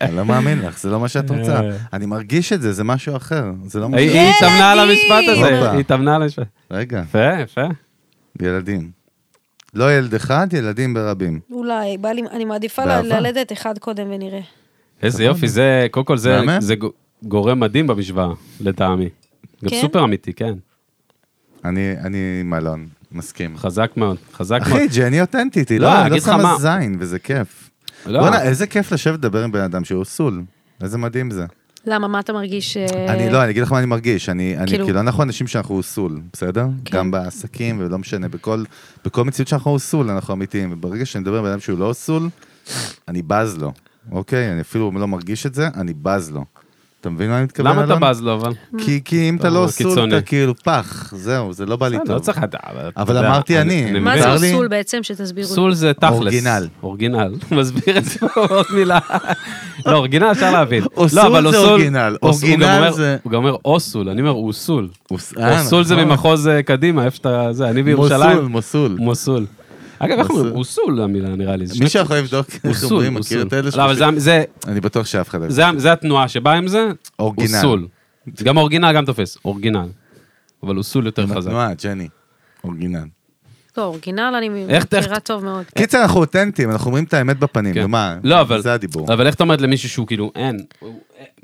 אני לא מאמין לך, זה לא מה שאת רוצה. אני מרגיש את זה, זה משהו אחר. זה כן, לא מה היא ש... היא התאמנה על המשפט הזה, הופה. היא התאמנה על המשפט. רגע, יפה, יפה. ילדים. לא ילד אחד, ילדים ברבים. אולי, בא לי, אני מעדיפה באהבה. ל- ללדת אחד קודם ונראה. איזה יופי, זה, קודם כל זה- נכון. מהמם. זה גו- גורם מדהים במשוואה, לטעמי. גם כן? סופר אמיתי, כן. אני אני עם אלון, מסכים. חזק מאוד, חזק מאוד. אחי, ג'ני אותנטית, היא נכון. לא, לא אני היא לא אגיד לך שמה מה. זין, וזה כיף. לא. בואנה, איזה כיף לשבת לדבר עם בן אדם שהוא סול. איזה מדהים זה. למה, מה אתה מרגיש? אה, אני לא, אני אגיד לך מה אני מרגיש, אני, אני כאילו- כן. כאילו, אנחנו אנשים שאנחנו סול, בסדר? גם בעסקים ולא משנה, בכל, בכל מציאות שאנחנו סול, אנחנו אמיתיים, וברגע שאני מדבר עם אדם שהוא לא סול, אני בז לו, אוקיי? אני אפילו לא מרגיש את זה, אני בז לו. אתה מבין מה אני מתכוון, למה אתה אלון? בז לו, אבל? כי, כי אם אתה אתה לא סול, קיצוני. אתה כאילו פח, זהו, זה לא בא לי בסדר, טוב. לא צריך לדעת. אבל אתה אבל יודע, אמרתי אני, מה מבין. צר זה לי. סול בעצם, שתסבירו לי? סול זה תכלס. אורגינל. אורגינל. מסביר את זה בעוד מילה. לא, אורגינל אפשר להבין. או לא, סול אבל זה או סול- אורגינל, או- הוא גם אורגינל אומר- זה- הוא גם אומר אוסול, אני אומר אוסול. אוס- אה, אוסול זה נכון. ממחוז אה, קדימה, איפה שאתה... זה, אני בירושלים. מוסול, מוסול. מוסול. אגב, איך אומרים? מוסול. אוסול המילה, נראה לי. זה מי שני- שיכול לבדוק איך אוסול, אומרים, מכיר אוסול. את אלה לא, אבל שחושבים- זה- זה- אני בטוח שאף אחד לא... זה- זה התנועה שבאה עם זה. אורגינל. אוסול. גם אורגינל גם תופס, אורגינל. אבל אוסול יותר חזק. תנועה, ג'ני. אורגינל. לא, אורגינל אני איך- מכירה איך- טוב מאוד. כן. קיצר, אנחנו אותנטיים, אנחנו אומרים את האמת בפנים, כן. נו מה? לא, אבל... זה הדיבור. אבל איך אתה אומרת למישהו שהוא כאילו, אין, הוא-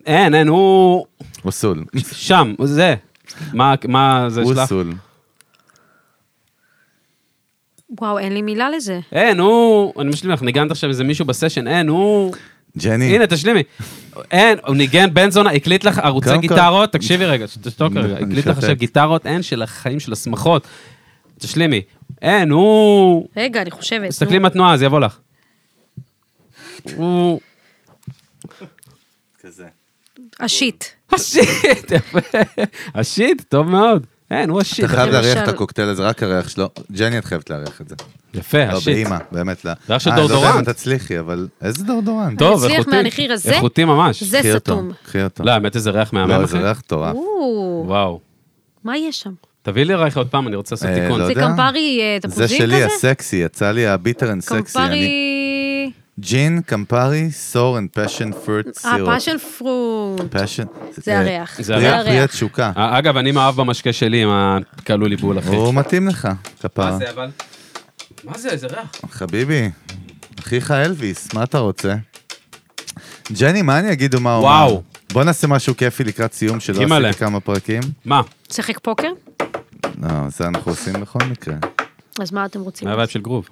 אין, אין, הוא אוסול. שם, הוא זה. מה, מה זה שלך? אוסול. וואו, אין לי מילה לזה. אין, הוא... אני משלים לך, ניגנת עכשיו איזה מישהו בסשן, אין, הוא... ג'ני. הנה, תשלימי. אין, הוא ניגן בן זונה, הקליט לך ערוצי קודם כל- גיטרות, תקשיבי רגע, ש- תשתוק אני רגע, הקליט לך שותק. עכשיו גיטרות, אין, של החיים של השמחות. תשלימי. אין, הוא... רגע, אני חושבת. תסתכלי מהתנועה, זה יבוא לך. הוא... נו. השיט. השיט, יפה. השיט, טוב מאוד. אין, הוא השיט. אתה חייב למשל- לארח את הקוקטייל הזה, רק הריח שלו. ג'ני, את חייבת לארח את זה. יפה, לא, השיט. באימא, באמת. לא. ריח של אה, אני לא יודע אם דאודורנט. תצליחי, אבל איזה דורדורנט? טוב, אני אצליח איכותי. מהנחיר הזה? איכותי ממש. זה קחי אותו, סתום. קחי אותו. לא, האמת איזה ריח מהמם. לא, אחי. זה ריח מטורף. או, וואו. מה יש שם? תביא לי ריח עוד פעם, אני רוצה לעשות אה, תיקון. לא זה יודע. קמפרי אה, זה תפוזים שלי, כזה? הסקסי, יצא לי הביטר אנד סקסי. אני- קמפרי... ג'ין, קמפרי, סור and passion fruit אה, syrup. פאשן פרוט. passion. זה הריח. זה אה, פרי- הריח. פרי התשוקה. אה, אגב, אני מאהב במשקה שלי עם הכלול עיבול, אחי. הוא מתאים לך, כפרה. מה זה אבל? מה זה, איזה ריח? חביבי, אחיך אלוויס, מה אתה רוצה? ג'ני, מה אני אגיד ומה אומר? וואו. בוא נעשה משהו כיפי לקראת סיום שלא אימא'לה. עשיתי כמה פרקים. מה? שיחק פוקר? לא, זה אנחנו עושים בכל מקרה. אז מה אתם רוצים? מה הווייב של גרוב?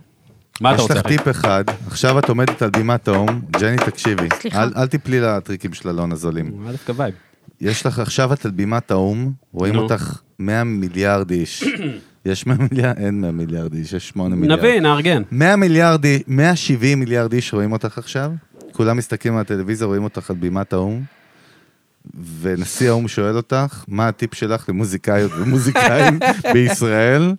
מה אתה יש רוצה, לך אחי? טיפ אחד, עכשיו את עומדת על בימת האו"ם, ג'ני, תקשיבי. סליחה. אל- אל תיפלי לטריקים של אלון הזולים. מה דווקא וייב? יש לך, עכשיו את על בימת האו"ם, רואים נו. אותך 100 מיליארד איש. יש 100 מיליארד, אין 100 מיליארד איש, יש 8 מיליארד. נביא, נארגן. 100 מיליארד, אי- 170 מיליארד איש רואים אותך עכשיו, כולם מסתכלים על הטלוויזיה, רואים אותך על בימת האו"ם, ונשיא האו"ם שואל אותך, מה הטיפ שלך למוזיקאיות ומוזיקאים בישראל,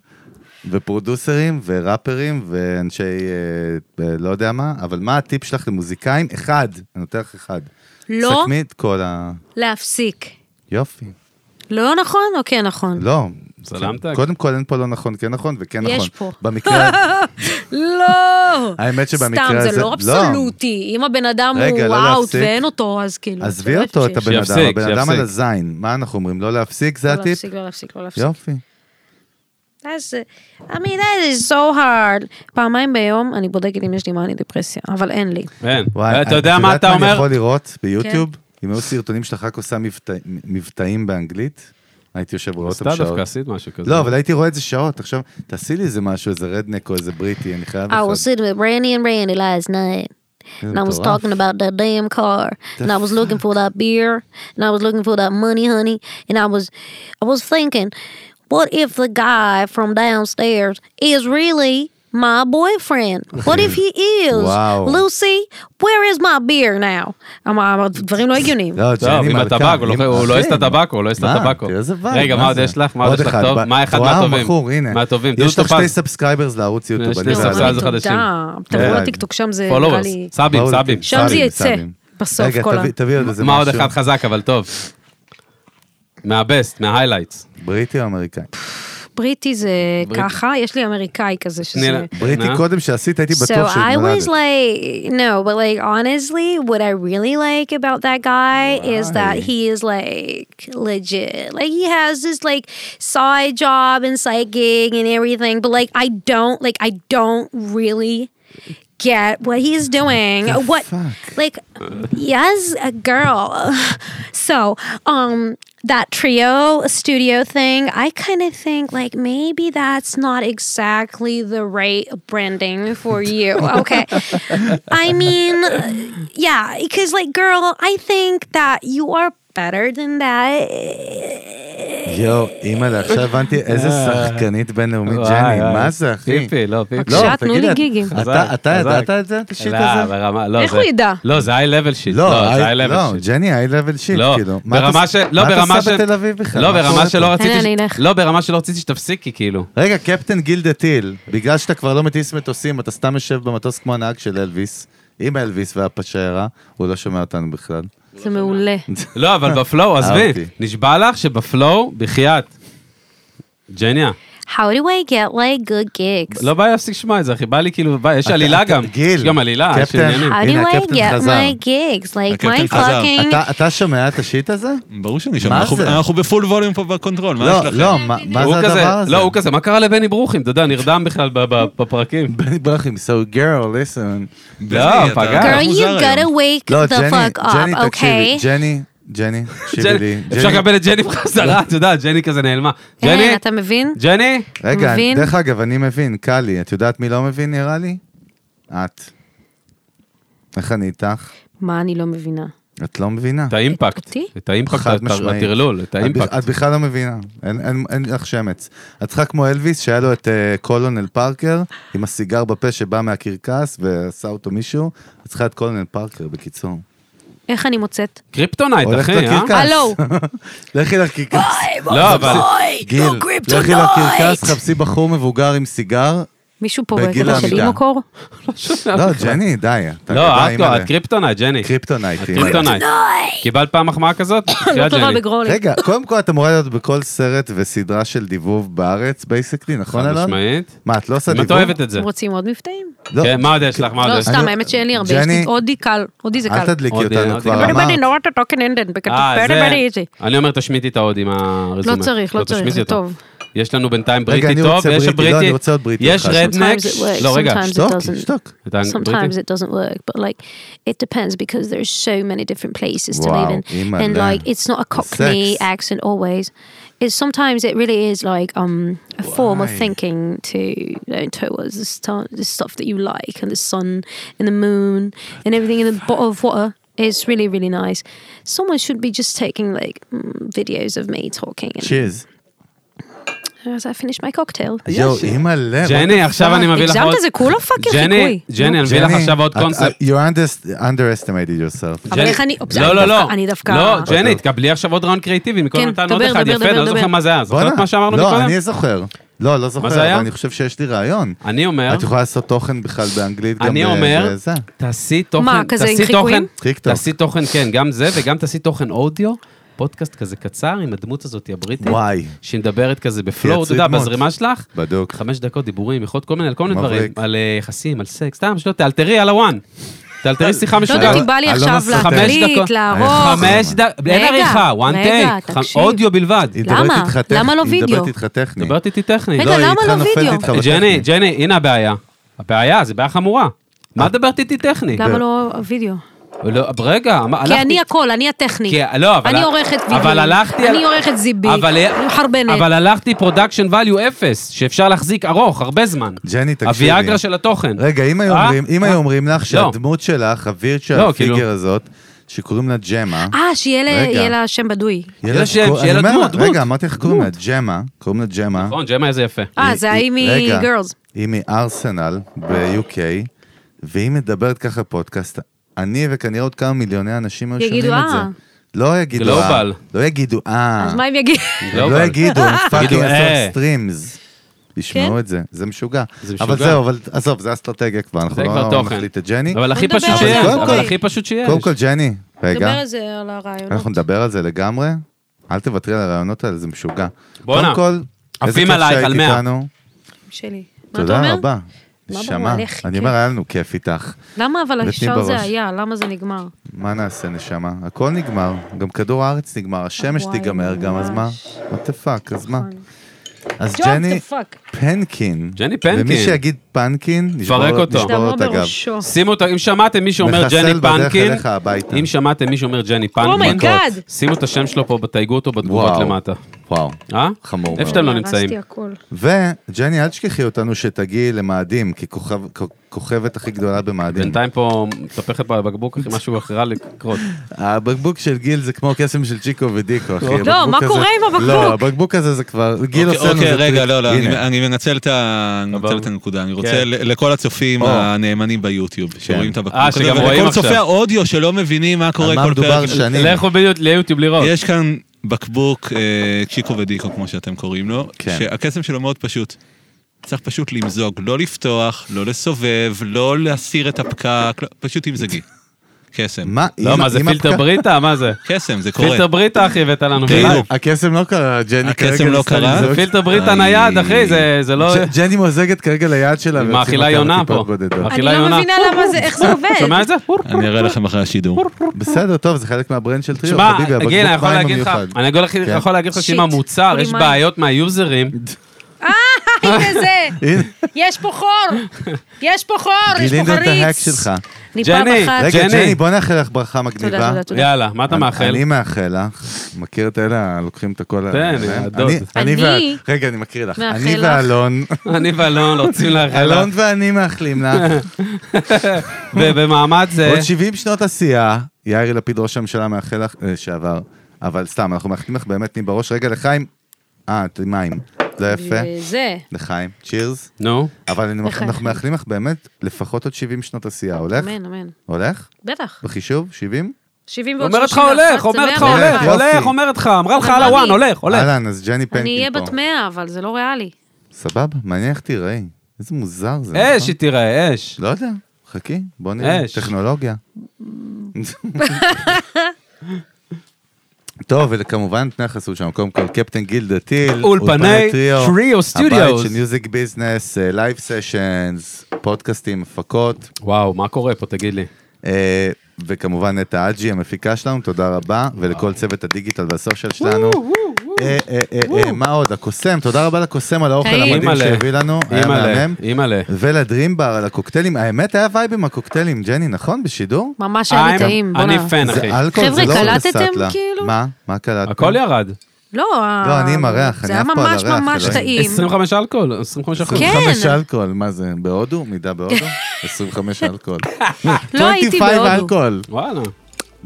ופרודוסרים וראפרים ואנשי אה, אה, לא יודע מה, אבל מה הטיפ שלך למוזיקאים? אחד, אני נותן לך אחד. לא סכמי את כל ה... להפסיק. יופי. לא נכון או כן נכון? לא. סלמת? קודם כל אין פה לא נכון, כן נכון וכן יש נכון. פה. במקרה, לא! האמת שבמקרה הזה... סתם, זה לא אבסולוטי. אם הבן אדם רגע, הוא לא אאוט להפסיק. ואין אותו, אז כאילו... עזבי לא אותו, את להפסיק. הבן אדם, שיפסיק, הבן אדם שיפסיק. על הזין. מה אנחנו אומרים? לא להפסיק, זה לא הטיפ? להפסיק, לא להפסיק, לא להפסיק. יופי. אז, אה, I mean, that is so hard. פעמיים ביום אני בודקת אם יש לי מאני דיפרסיה, אבל אין לי. אין. וואי, אתה יודע מה אתה אני אומר? יכול לראות ביוטיוב? כן. אם היו סרטונים שלך רק עושה מבטא- מבטאים באנגלית, הייתי יושב רואה עשתה אותם דווקא, שעות. עשית משהו כזה. לא, אבל הייתי רואה את זה שעות. עכשיו, תעשי לי איזה משהו, איזה רדנק או איזה בריטי, אני חייב I אה, אחד. was sitting with Brandy and Randy last night. זה And I was מטורף. talking about that damn car. And I was looking for that beer. And I was looking for that money, honey. And I was I was thinking, what if the guy from downstairs is really my boyfriend? What if he is? Wow. Lucy, where is my beer now? אמר, הדברים לא הגיוניים. לא, ג'ני טוב, עם מלכה, הטבק, הוא אם- לא- הוא אחי, לא העז את הטבק, הוא לא העז את מה? הטבק. תראה איזה וייב, רגע, מה עוד זה? יש לך? מה עוד יש לך אחד, טוב? ב- מה אחד וואו, מהטובים? בחור, הנה. מהטובים? יש דודו לך שתי פז. סאבסקרייברס לערוץ יוטיוב. שני בגדול. סאב- לא, סאב- אבל חדשים. תודה. תבואו כן. לטיקטוק, שם זה נראה פולוורס, לי... סאבים, באו סאבים. לטיקטוק. שם זה סאבים, יצא. סאבים. בסוף רגע, כל ה- תביא- תביא עוד איזה משהו. מה עוד אחד חזק, אבל טוב. מהבסט, מההיילייטס. בריטי או אמריקאי? אה? בריטי זה בריטי. ככה, יש לי אמריקאי כזה תני שזה... לה- בריטי נא. קודם שעשית, הייתי So בטוח I was שהתמודדת. like, no, but like honestly, what I really like about that guy is that Why? he is like legit. Like he has this like side job and side gig and everything, but like I don't like I don't really get what he's doing. uh, what fuck? like yes, a girl. so, um that trio studio thing, I kind of think like maybe that's not exactly the right branding for you. Okay. I mean, yeah, because like girl, I think that you are better than Uh, that. יואו, אימא'לה, עכשיו הבנתי איזה שחקנית בינלאומית אה. וואי, ג'ני, וואי. מה זה, אחי? פיפי, לא, פיפי. לא, בבקשה, תנו תגידי, לי את- גיגים. אתה- חזק, אתה חזק. ידעת את זה, את השיט לא, הזה? ברמה, לא, איך זה- הוא ידע? לא, זה היי-לבל שיט. לא, לא, זה היי- היי-לבל לא, שיט. ג'ני, היי לבל שיט, לא, כאילו. מה אתה- ברמה של... לא, מה ברמה אתה של... עושה בתל אביב בכלל? לא, מה ברמה קורה פה? שלא רציתי... הנה, ש- אה, אני אלך. לא, ברמה שלא רציתי שתפסיקי, כאילו. רגע, קפטן גיל דה טיל, בגלל שאתה כבר לא מטיס מטוסים, אתה סתם יושב במטוס כמו הנהג של אלוויס, עם אלוויס והפשיירה, הוא לא שומע אותנו בכלל. זה מעולה. לא, אבל בפלואו, עזבי. אהבתי. נשבע לך שבפלואו, בחייאת. ג'ניה. How do I get like good gigs? לא בא לי להפסיק לשמוע את זה, אחי. בא לי כאילו, בא, יש עלילה אתה- גם. גיל, יש גם עלילה, יש קפטן. עניינים. How do Athena, I Captain get Hazard. my gigs? Like my Captain Hazard. fucking אתה- אתה שומע את השיט הזה? ברור שאני שם, מה אנחנו- זה? אנחנו בפול ווליום פה בקונטרול, מה יש לא, לכם? לא, מה מה הוא זה כזה- הדבר הזה? לא, הוא כזה, מה קרה לבני ברוכים? אתה יודע, נרדם בכלל ב- ב- בפרקים. בני ברכים, so girl, listen. בני, לא, אתה- פגע. אתה Girl, מוזר you היום. gotta wake לא, the ג'ני, fuck up, ג'ני, okay? תקשיבי, ג'ני, ג'ני, תקשיבי לי. ג'ני- אפשר ג'ני- לקבל את ג'ני בחזרה, אתה יודע, ג'ני כזה נעלמה. ג'ני, אין, אה, אתה מבין? ג'ני, רגע, אני- מבין? דרך אגב, אני מבין, קלי, את יודעת מי לא מבין נראה לי? את. איך אני איתך? מה אני לא מבינה? את לא מבינה. את האימפקט. אותי? את האימפקט, חד הטר- משמעית. הטרלול, את את בכ- האימפקט. את בכלל לא מבינה, אין- אין אין לך שמץ. את צריכה כמו אלוויס שהיה לו את אה, קולונל פארקר עם הסיגר בפה שבא מהקרקס ועשה אותו מישהו, את צריכה את קולונל פארקר בקיצור. איך אני מוצאת? קריפטונייט, הולכת אחי, אה? לקרקס. הלו. לכי לקרקס. לא, אבל... גיל, לכי לקרקס, חפשי בחור מבוגר עם סיגר, מישהו פה בגיל בקטע של העמידה. אימו קור? לא, ג'ני, די. אתה לא, גדולה, את אימא'לה. לא, את קריפטונייט, ג'ני. קריפטונייט. אימא'לה. קריפטונייט. קיבלת פעם מחמאה כזאת? לא בחייאת, טובה ג'ני. בגרולים. רגע, קודם כל את אמורה להיות בכל סרט וסדרה של דיבוב בארץ, בייסקלי, נכון חד אלון? משמעית. מה, את לא עושה אם את דיבוב? אוהבת את זה. אתם רוצים עוד מבטאים? לא, כן, מה עוד יש לך? מה עוד לא, יש? סתם, אני- האמת שאין לי הרבה. ג'ני- יש לי- הודי קל, הודי זה אל קל. תדליקי עוד, אה, אותנו, עוד כבר דיבוב. Everybody אמרת. know what to talk in Indian, because אה, it's very זה- very easy. אני אומר, תשמיטי את ההוד עם הרזומה. לא צריך, לא צריך, תשמיטי זה אותו. טוב. יש לנו בינתיים רגע, בריטי אני טוב, רוצה ויש בריטי, לא, הבריטי. אני רוצה עוד בריטי יש אחד. רדנק. Sometimes it works, לא, רגע. sometimes- שתוק, doesn't. שתוק. את האנג- Sometimes בריטי? it doesn't work, but like it depends because there's so many different places to Wow, live in, Iman, and yeah. like it's not a Cockney Sex. accent always. It's sometimes it really is like um a form of Why? thinking to you know, towards the, star, the stuff that you like and the sun and the moon and everything in the bottle of water. It's really really nice. Someone should be just taking like mm, videos of me talking and צ'יז. as I finish my cocktail. יואו, אימא'לה. ג'ני, עכשיו אני מביא לך הגזמת, עוד... זה כולה פאקינג ג'ני, חיקוי. לא. ג'ני, אני מביא לך עכשיו עוד קונספט. You אה, under- underestimated yourself. אבל ג'ני- איך אני- לא, לא, לא. אני דווקא- אוקיי. לא, ג'ני, תקבלי עכשיו עוד ראונד קריאיטיבי. מקודם כן, נתנו עוד דבר, אחד דבר, יפה, דבר, לא דבר. זוכר מה זה היה. זוכרת בואנה. מה שאמרנו לא, מקודם? אני זוכר. לא, לא זוכר, זה היה? אבל אני חושב שיש לי רעיון. אני אומר, את יכולה לעשות תוכן בכלל באנגלית גם אני ב- אומר, בזה. תעשי תוכן, מה, כזה עם תעשי חיקויים? תוכן- טיקטוק. תעשי תוכן, כן, גם זה, וגם תעשי תוכן אודיו, פודקאסט כזה קצר עם הדמות הזאת הבריטית, וואי. שהיא מדברת כזה בפלואו, אתה תייצרי יודע, דמות. בזרימה שלך, בדוק. חמש דקות דיבורים, יכולת כל מיני, על כל מיני מבריק. דברים, על אה, יחסים, על סקס, סתם, שלא, תאלתרי על הוואן. תאלתרי שיחה לא יודעת משוגעת. אם בא לי אלון עכשיו הסוטה. חמש להקליט, דקות. לערוך. חמש דקות, אין רגע, עריכה, one רגע, take, תקשיב. ח- אודיו בלבד. היא מדברת למה? איתך טכ- למה לא היא מדברת וידאו? איתך טכני. מדברת איתי טכנית. רגע, לא, היא למה איתך לא נופלת וידאו? איתך ג'ני, בטכני. ג'ני, הנה הבעיה. הבעיה, זו בעיה חמורה. אה. מה מדברת איתי טכני? למה לא הווידאו? לא, רגע, אמר- כי הלכתי- אני הכל, אני הטכני. כי- לא, אבל... אני עורכת וידאו. אבל הלכתי... אני עורכת זיבי. אבל- אני מחרבנת. אבל הלכתי פרודקשן value אפס, שאפשר להחזיק ארוך, הרבה זמן. ג'ני, תקשיבי. הוויאגרה של התוכן. רגע, אם היו אה? אומרים, אם אה? היו אומרים לך לא. שהדמות שלך, הווירצ'ל לא, כאילו- פיגר הזאת, שקוראים לה ג'מה, אה, שיהיה לה- רגע. יהיה לה שם בדוי. יהיה יש לה- שיהיה- אני שיהיה לה אומר דמות, דמות. רגע, אמרתי לך, קוראים לה ג'מה, קוראים לה ג'מה. נכון, ג'מה איזה יפה. אה, היא- זה היא- ההיא רגע, מגרלס. היא מארסנל ב-UK, והיא מדברת ככה בפודקאסט. אני וכנראה עוד כמה מיליוני אנשים היו יגידו, שומעים את זה. "אה". לא יגידו אה. גלובל. לא יגידו אה. אז מה אם יגיד? הם גלובל. לא יגידו, הם פאקינג יגידו, אה. עשו סטרימס. ישמעו כן? את זה, זה משוגע. זה משוגע. אבל זהו, אבל עזוב, זה אסטרטגיה כבר, אנחנו זה כבר לא תוכן. נחליט את ג'ני. אבל הכי נדבר פשוט על זה, שיש. אוקיי. אבל הכי פשוט שיש. קודם כל, ג'ני, דבר רגע, על זה, על הרעיונות. אנחנו נדבר על זה לגמרי. אל תוותרי על הרעיונות האלה, זה משוגע. בואנה, קודם כל, איזה עפים כיף עלייך, שהיית על מאה. איתנו. שלי. מה אתה תודה אומר? רבה. מה נשמה. ברור, איך אני כיף. אומר, היה לנו כיף איתך. למה אבל נותנים השאר זה בראש. היה? למה זה נגמר? מה נעשה, נשמה? הכל נגמר, גם כדור הארץ נגמר, השמש וואי, תיגמר גם, אז מה? ממש. what the fuck, אז מה? אז Drop ג'ני נכון. the fuck. פנקין. ג'ני פנקין. ומי שיגיד פנקין, תפרק נשבור- אותו. נשבור לו את הגב. שימו אותו, אם שמעתם מי שאומר נחסל ג'ני בדרך פנקין, אליך הביתה. אם שמעתם מי שאומר Oh ג'ני פנקין, אומייגאד. שימו את השם שלו פה, תייגו אותו בתגובות וואו. למטה. וואו. אה? חמור מאוד. איפה שאתם לא הרסתי נמצאים. הכל. וג'ני, אל תשכחי אותנו שתגיעי למאדים, כי כוכב- כ- כוכבת הכי גדולה במאדים. בינתיים פה מתהפכת בבקבוק, אחי, משהו אחר לקרות. הבקבוק של גיל זה כמו קסם של צ'יקו ודיקו, אחי. לא, הבקבוק מה הזה- קורה עם הבקבוק? לא, הבקבוק הזה זה כבר... גיל אוקיי, עושה לנו... אוקיי, זה רגע, טריק. לא, לא, אני- הנה. אני מנצל את ה- אני מנצל את הנקודה. אני כן. רוצה ל- לכל הצופים או. כן. הנאמנים ביוטיוב, שרואים את הבקבוק הזה, אה, שגם רואים ולכל עכשיו. צופי האודיו שלא מבינים מה קורה על מה כל מדובר פרק. שנים? לכו בדיוק ליוטיוב לראות. יש כאן בקבוק אה, צ'יקו ודיקו, כמו שאתם קוראים לו, כן. שהקסם שלו מאוד פשוט. צריך פשוט למזוג, לא לפתוח, לא לסובב, לא להסיר את הפקק, לא- פשוט תמזגי. קסם. מה? לא, אם- מה זה אם פילטר הפק- בריטה? מה זה? כן, קסם, זה קורה. פילטר בריטה, אחי, הבאת לנו. תראו. בלייב. הקסם לא קרה, ג'ני הקסם כרגע... לא ניסתה קרה? לזרוק- פילטר בריטה נייד, אחי, זה- זה לא... ג'- ג'ני מוזגת כרגע ליד שלה. עם ויוצאים האכילה אותה יונה לטיפות פה. בודדות. אכילה אני לא יונה. מבינה למה זה, איך זה שומע עובד. את זה? אני אראה לכם אחרי השידור. בסדר, טוב, זה חלק מהברנד של טריו, שמע, חביבי, הבקבוק גיל, אני יכול מים להגיד לך, המיוחד. אני יכול להגיד- כן. יכול להגיד לך שיט, שעם המוצר כולי יש מים. בעיות מהיוזרים. הנה זה, הנה, יש פה חור, יש פה חור, יש פה גילינו את ההק חריץ. שלך. אני פעם ג'ני, אחת... רגע, ג'ני. ג'ני, בוא נאחל לך ברכה מגניבה. אה, תודה, תודה, תודה. יאללה, מה אתה אני- מאחל? אני מאחל לך, מכיר את אלה הלוקחים את הכל? תן, עליהם? הדוד. אני- אני אני וה- רגע, אני מקריא לך. מאחל אני לך. ואלון, אני ואלון רוצים לאחל אלון לך. ואני מאחלים לך ובמעמד זה... עוד 70 שנות עשייה. יאיר לפיד, ראש הממשלה, מאחל לך, אה, שעבר. אבל סתם, אנחנו מאחלים לך באמת נים בראש. רגע, לחיים. אה, את עם מים. זה יפה. זה. לחיים. צ'ירס. נו. אבל אני- לחיים. אנחנו מאחלים לך באמת לפחות עוד 70 שנות עשייה. הולך? אמן, אמן. הולך? בטח. בחישוב? 70? 70 ועוד אומרת לך 31, הולך, זה אומרת לך 101. הולך, יופי. אה, הולך, אומרת לך, אמרה לך על אבל הוואן, אני- הולך, הולך. אהלן, אז ג'ני פנקין פה. אני אהיה בת 100, אבל זה לא ריאלי. סבבה, מעניין איך תיראי. איזה מוזר זה. אש נכון? היא תיראה, אש. לא יודע, חכי, בוא נראה. אש. טכנולוגיה. טוב, וכמובן, תנאי החסות שלנו, קודם כל, קפטן גיל דתיל, אולפני טריו סטודיוס. הבית של מיוזיק ביזנס, לייב סשנס, פודקאסטים, הפקות, וואו, מה קורה פה, תגיד לי? אה, וכמובן נטע אג'י, המפיקה שלנו, תודה רבה, אה. ולכל צוות הדיגיטל והסושיאל שלנו. אה, אה, אה, אה, מה עוד? הקוסם, תודה רבה לקוסם על האוכל טעים. המדהים אימא'לה. שהביא לנו, היה אימא'לה, מהמם. אימא'לה. ולדרימבר על הקוקטיילים, האמת היה וייב עם הקוקטיילים, ג'ני, נכון? בשידור? ממש היה לי I'm- טעים, בוא'נה. אני פן, אחי. זה אלכוהול, זה חבר'ה, לא קלטתם סטלה. כאילו? מה? מה קלטתם? הכל ירד. לא, לא, ה- אני עם הריח, זה אני היה עף פה על ממש הריח, ממש אלוהים. טעים. 25 אלכוהול, 25 אחוז. כן. 25 אלכוהול, מה זה? בהודו? מידה בהודו? 25 אלכוהול. לא הייתי 25 בהודו. אלכוהול. לא. וואלה.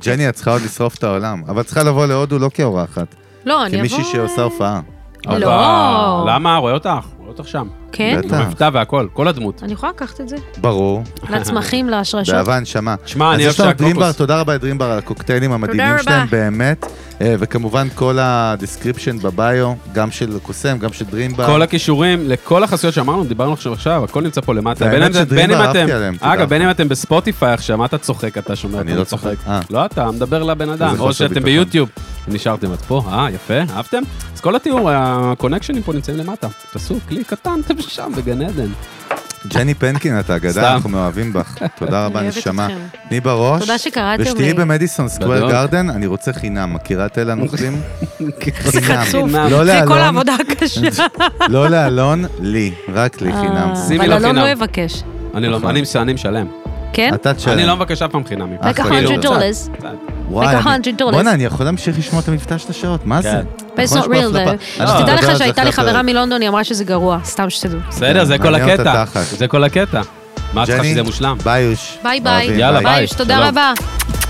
ג'ני, את צריכה עוד לשרוף את העולם, אבל את צריכה לבוא להודו לא כאורחת, לא, אני אבוא... כמישהי שעושה הופעה. לא. אבל- למה? רואה אותך, רואה אותך שם. כן? בטח. מבטא והכל, כל הדמות. אני יכולה לקחת את זה? ברור, לצמחים, להשרשות. באהבה נשמה. שמע, אני אז אוהב יש לנו שהקוקוס. דרימבר, תודה רבה לדרימבר על הקוקטיילים המדהימים רבה. שלהם, באמת. אה, וכמובן כל הדיסקריפשן בביו, גם של קוסם, גם של דרימבר. כל הכישורים לכל החסויות שאמרנו, דיברנו עכשיו עכשיו, הכל נמצא פה למטה. והאמת בין אם זה- שדרימבה בין אם אהבתי אתם- עליהם, תדע. אגב, בין אם אתם בספוטיפיי עכשיו, מה אתה צוחק, אתה שומע, אני אתה לא צוחק. אה. לא אתה, מדבר לבן איזה אדם. או חוסר שאתם ביטחון. ביוטיוב, נשארתם עד פה, אה, יפה, אהבתם? אז כל התיאור, הקונקשנים פה נמצאים למטה. תעשו קליק קטן, אתם שם בגן עדן. ג'ני פנקין, את סתם. האגדה, אנחנו מאוהבים בך. תודה רבה, אני אוהבת נשמה. אתכם. תני בראש. תודה שקראתם לי. ושתהיי במדיסון סקוואר גדול. גרדן, אני רוצה חינם. מכירה את אלה הנוכלים? איזה חצוף. לא אחרי כל לאלון. העבודה הקשה. לא לאלון, לי. רק לי חינם. אה, שימי אבל לה אלון חינם. לא יבקש. אני לא, נכון. אני מש- אני משלם. כן? אתה תשלם. אני לא מבקש אף פעם חינמי. אה, Like a אחלה, hundred כאילו. dollars. וואי, like a אני- hundred dollars. בואנה, אני יכול להמשיך לשמוע את המבטא של השעות, מה זה? כן. But it's נכון, יש not פה real החלפה. though. אנחנו שתדע נדבר על לך זה שהייתה לי אחרי חברה הפרק. מלונדון, היא אמרה שזה גרוע. סתם שתדעו. בסדר, זה כל מעניין אותה הקטע. תחת. זה כל הקטע. מה את צריכה שזה מושלם? ביי, יוש. ביי ביי. אוהבים, יאללה, ביי. ביי. תודה שלום. רבה.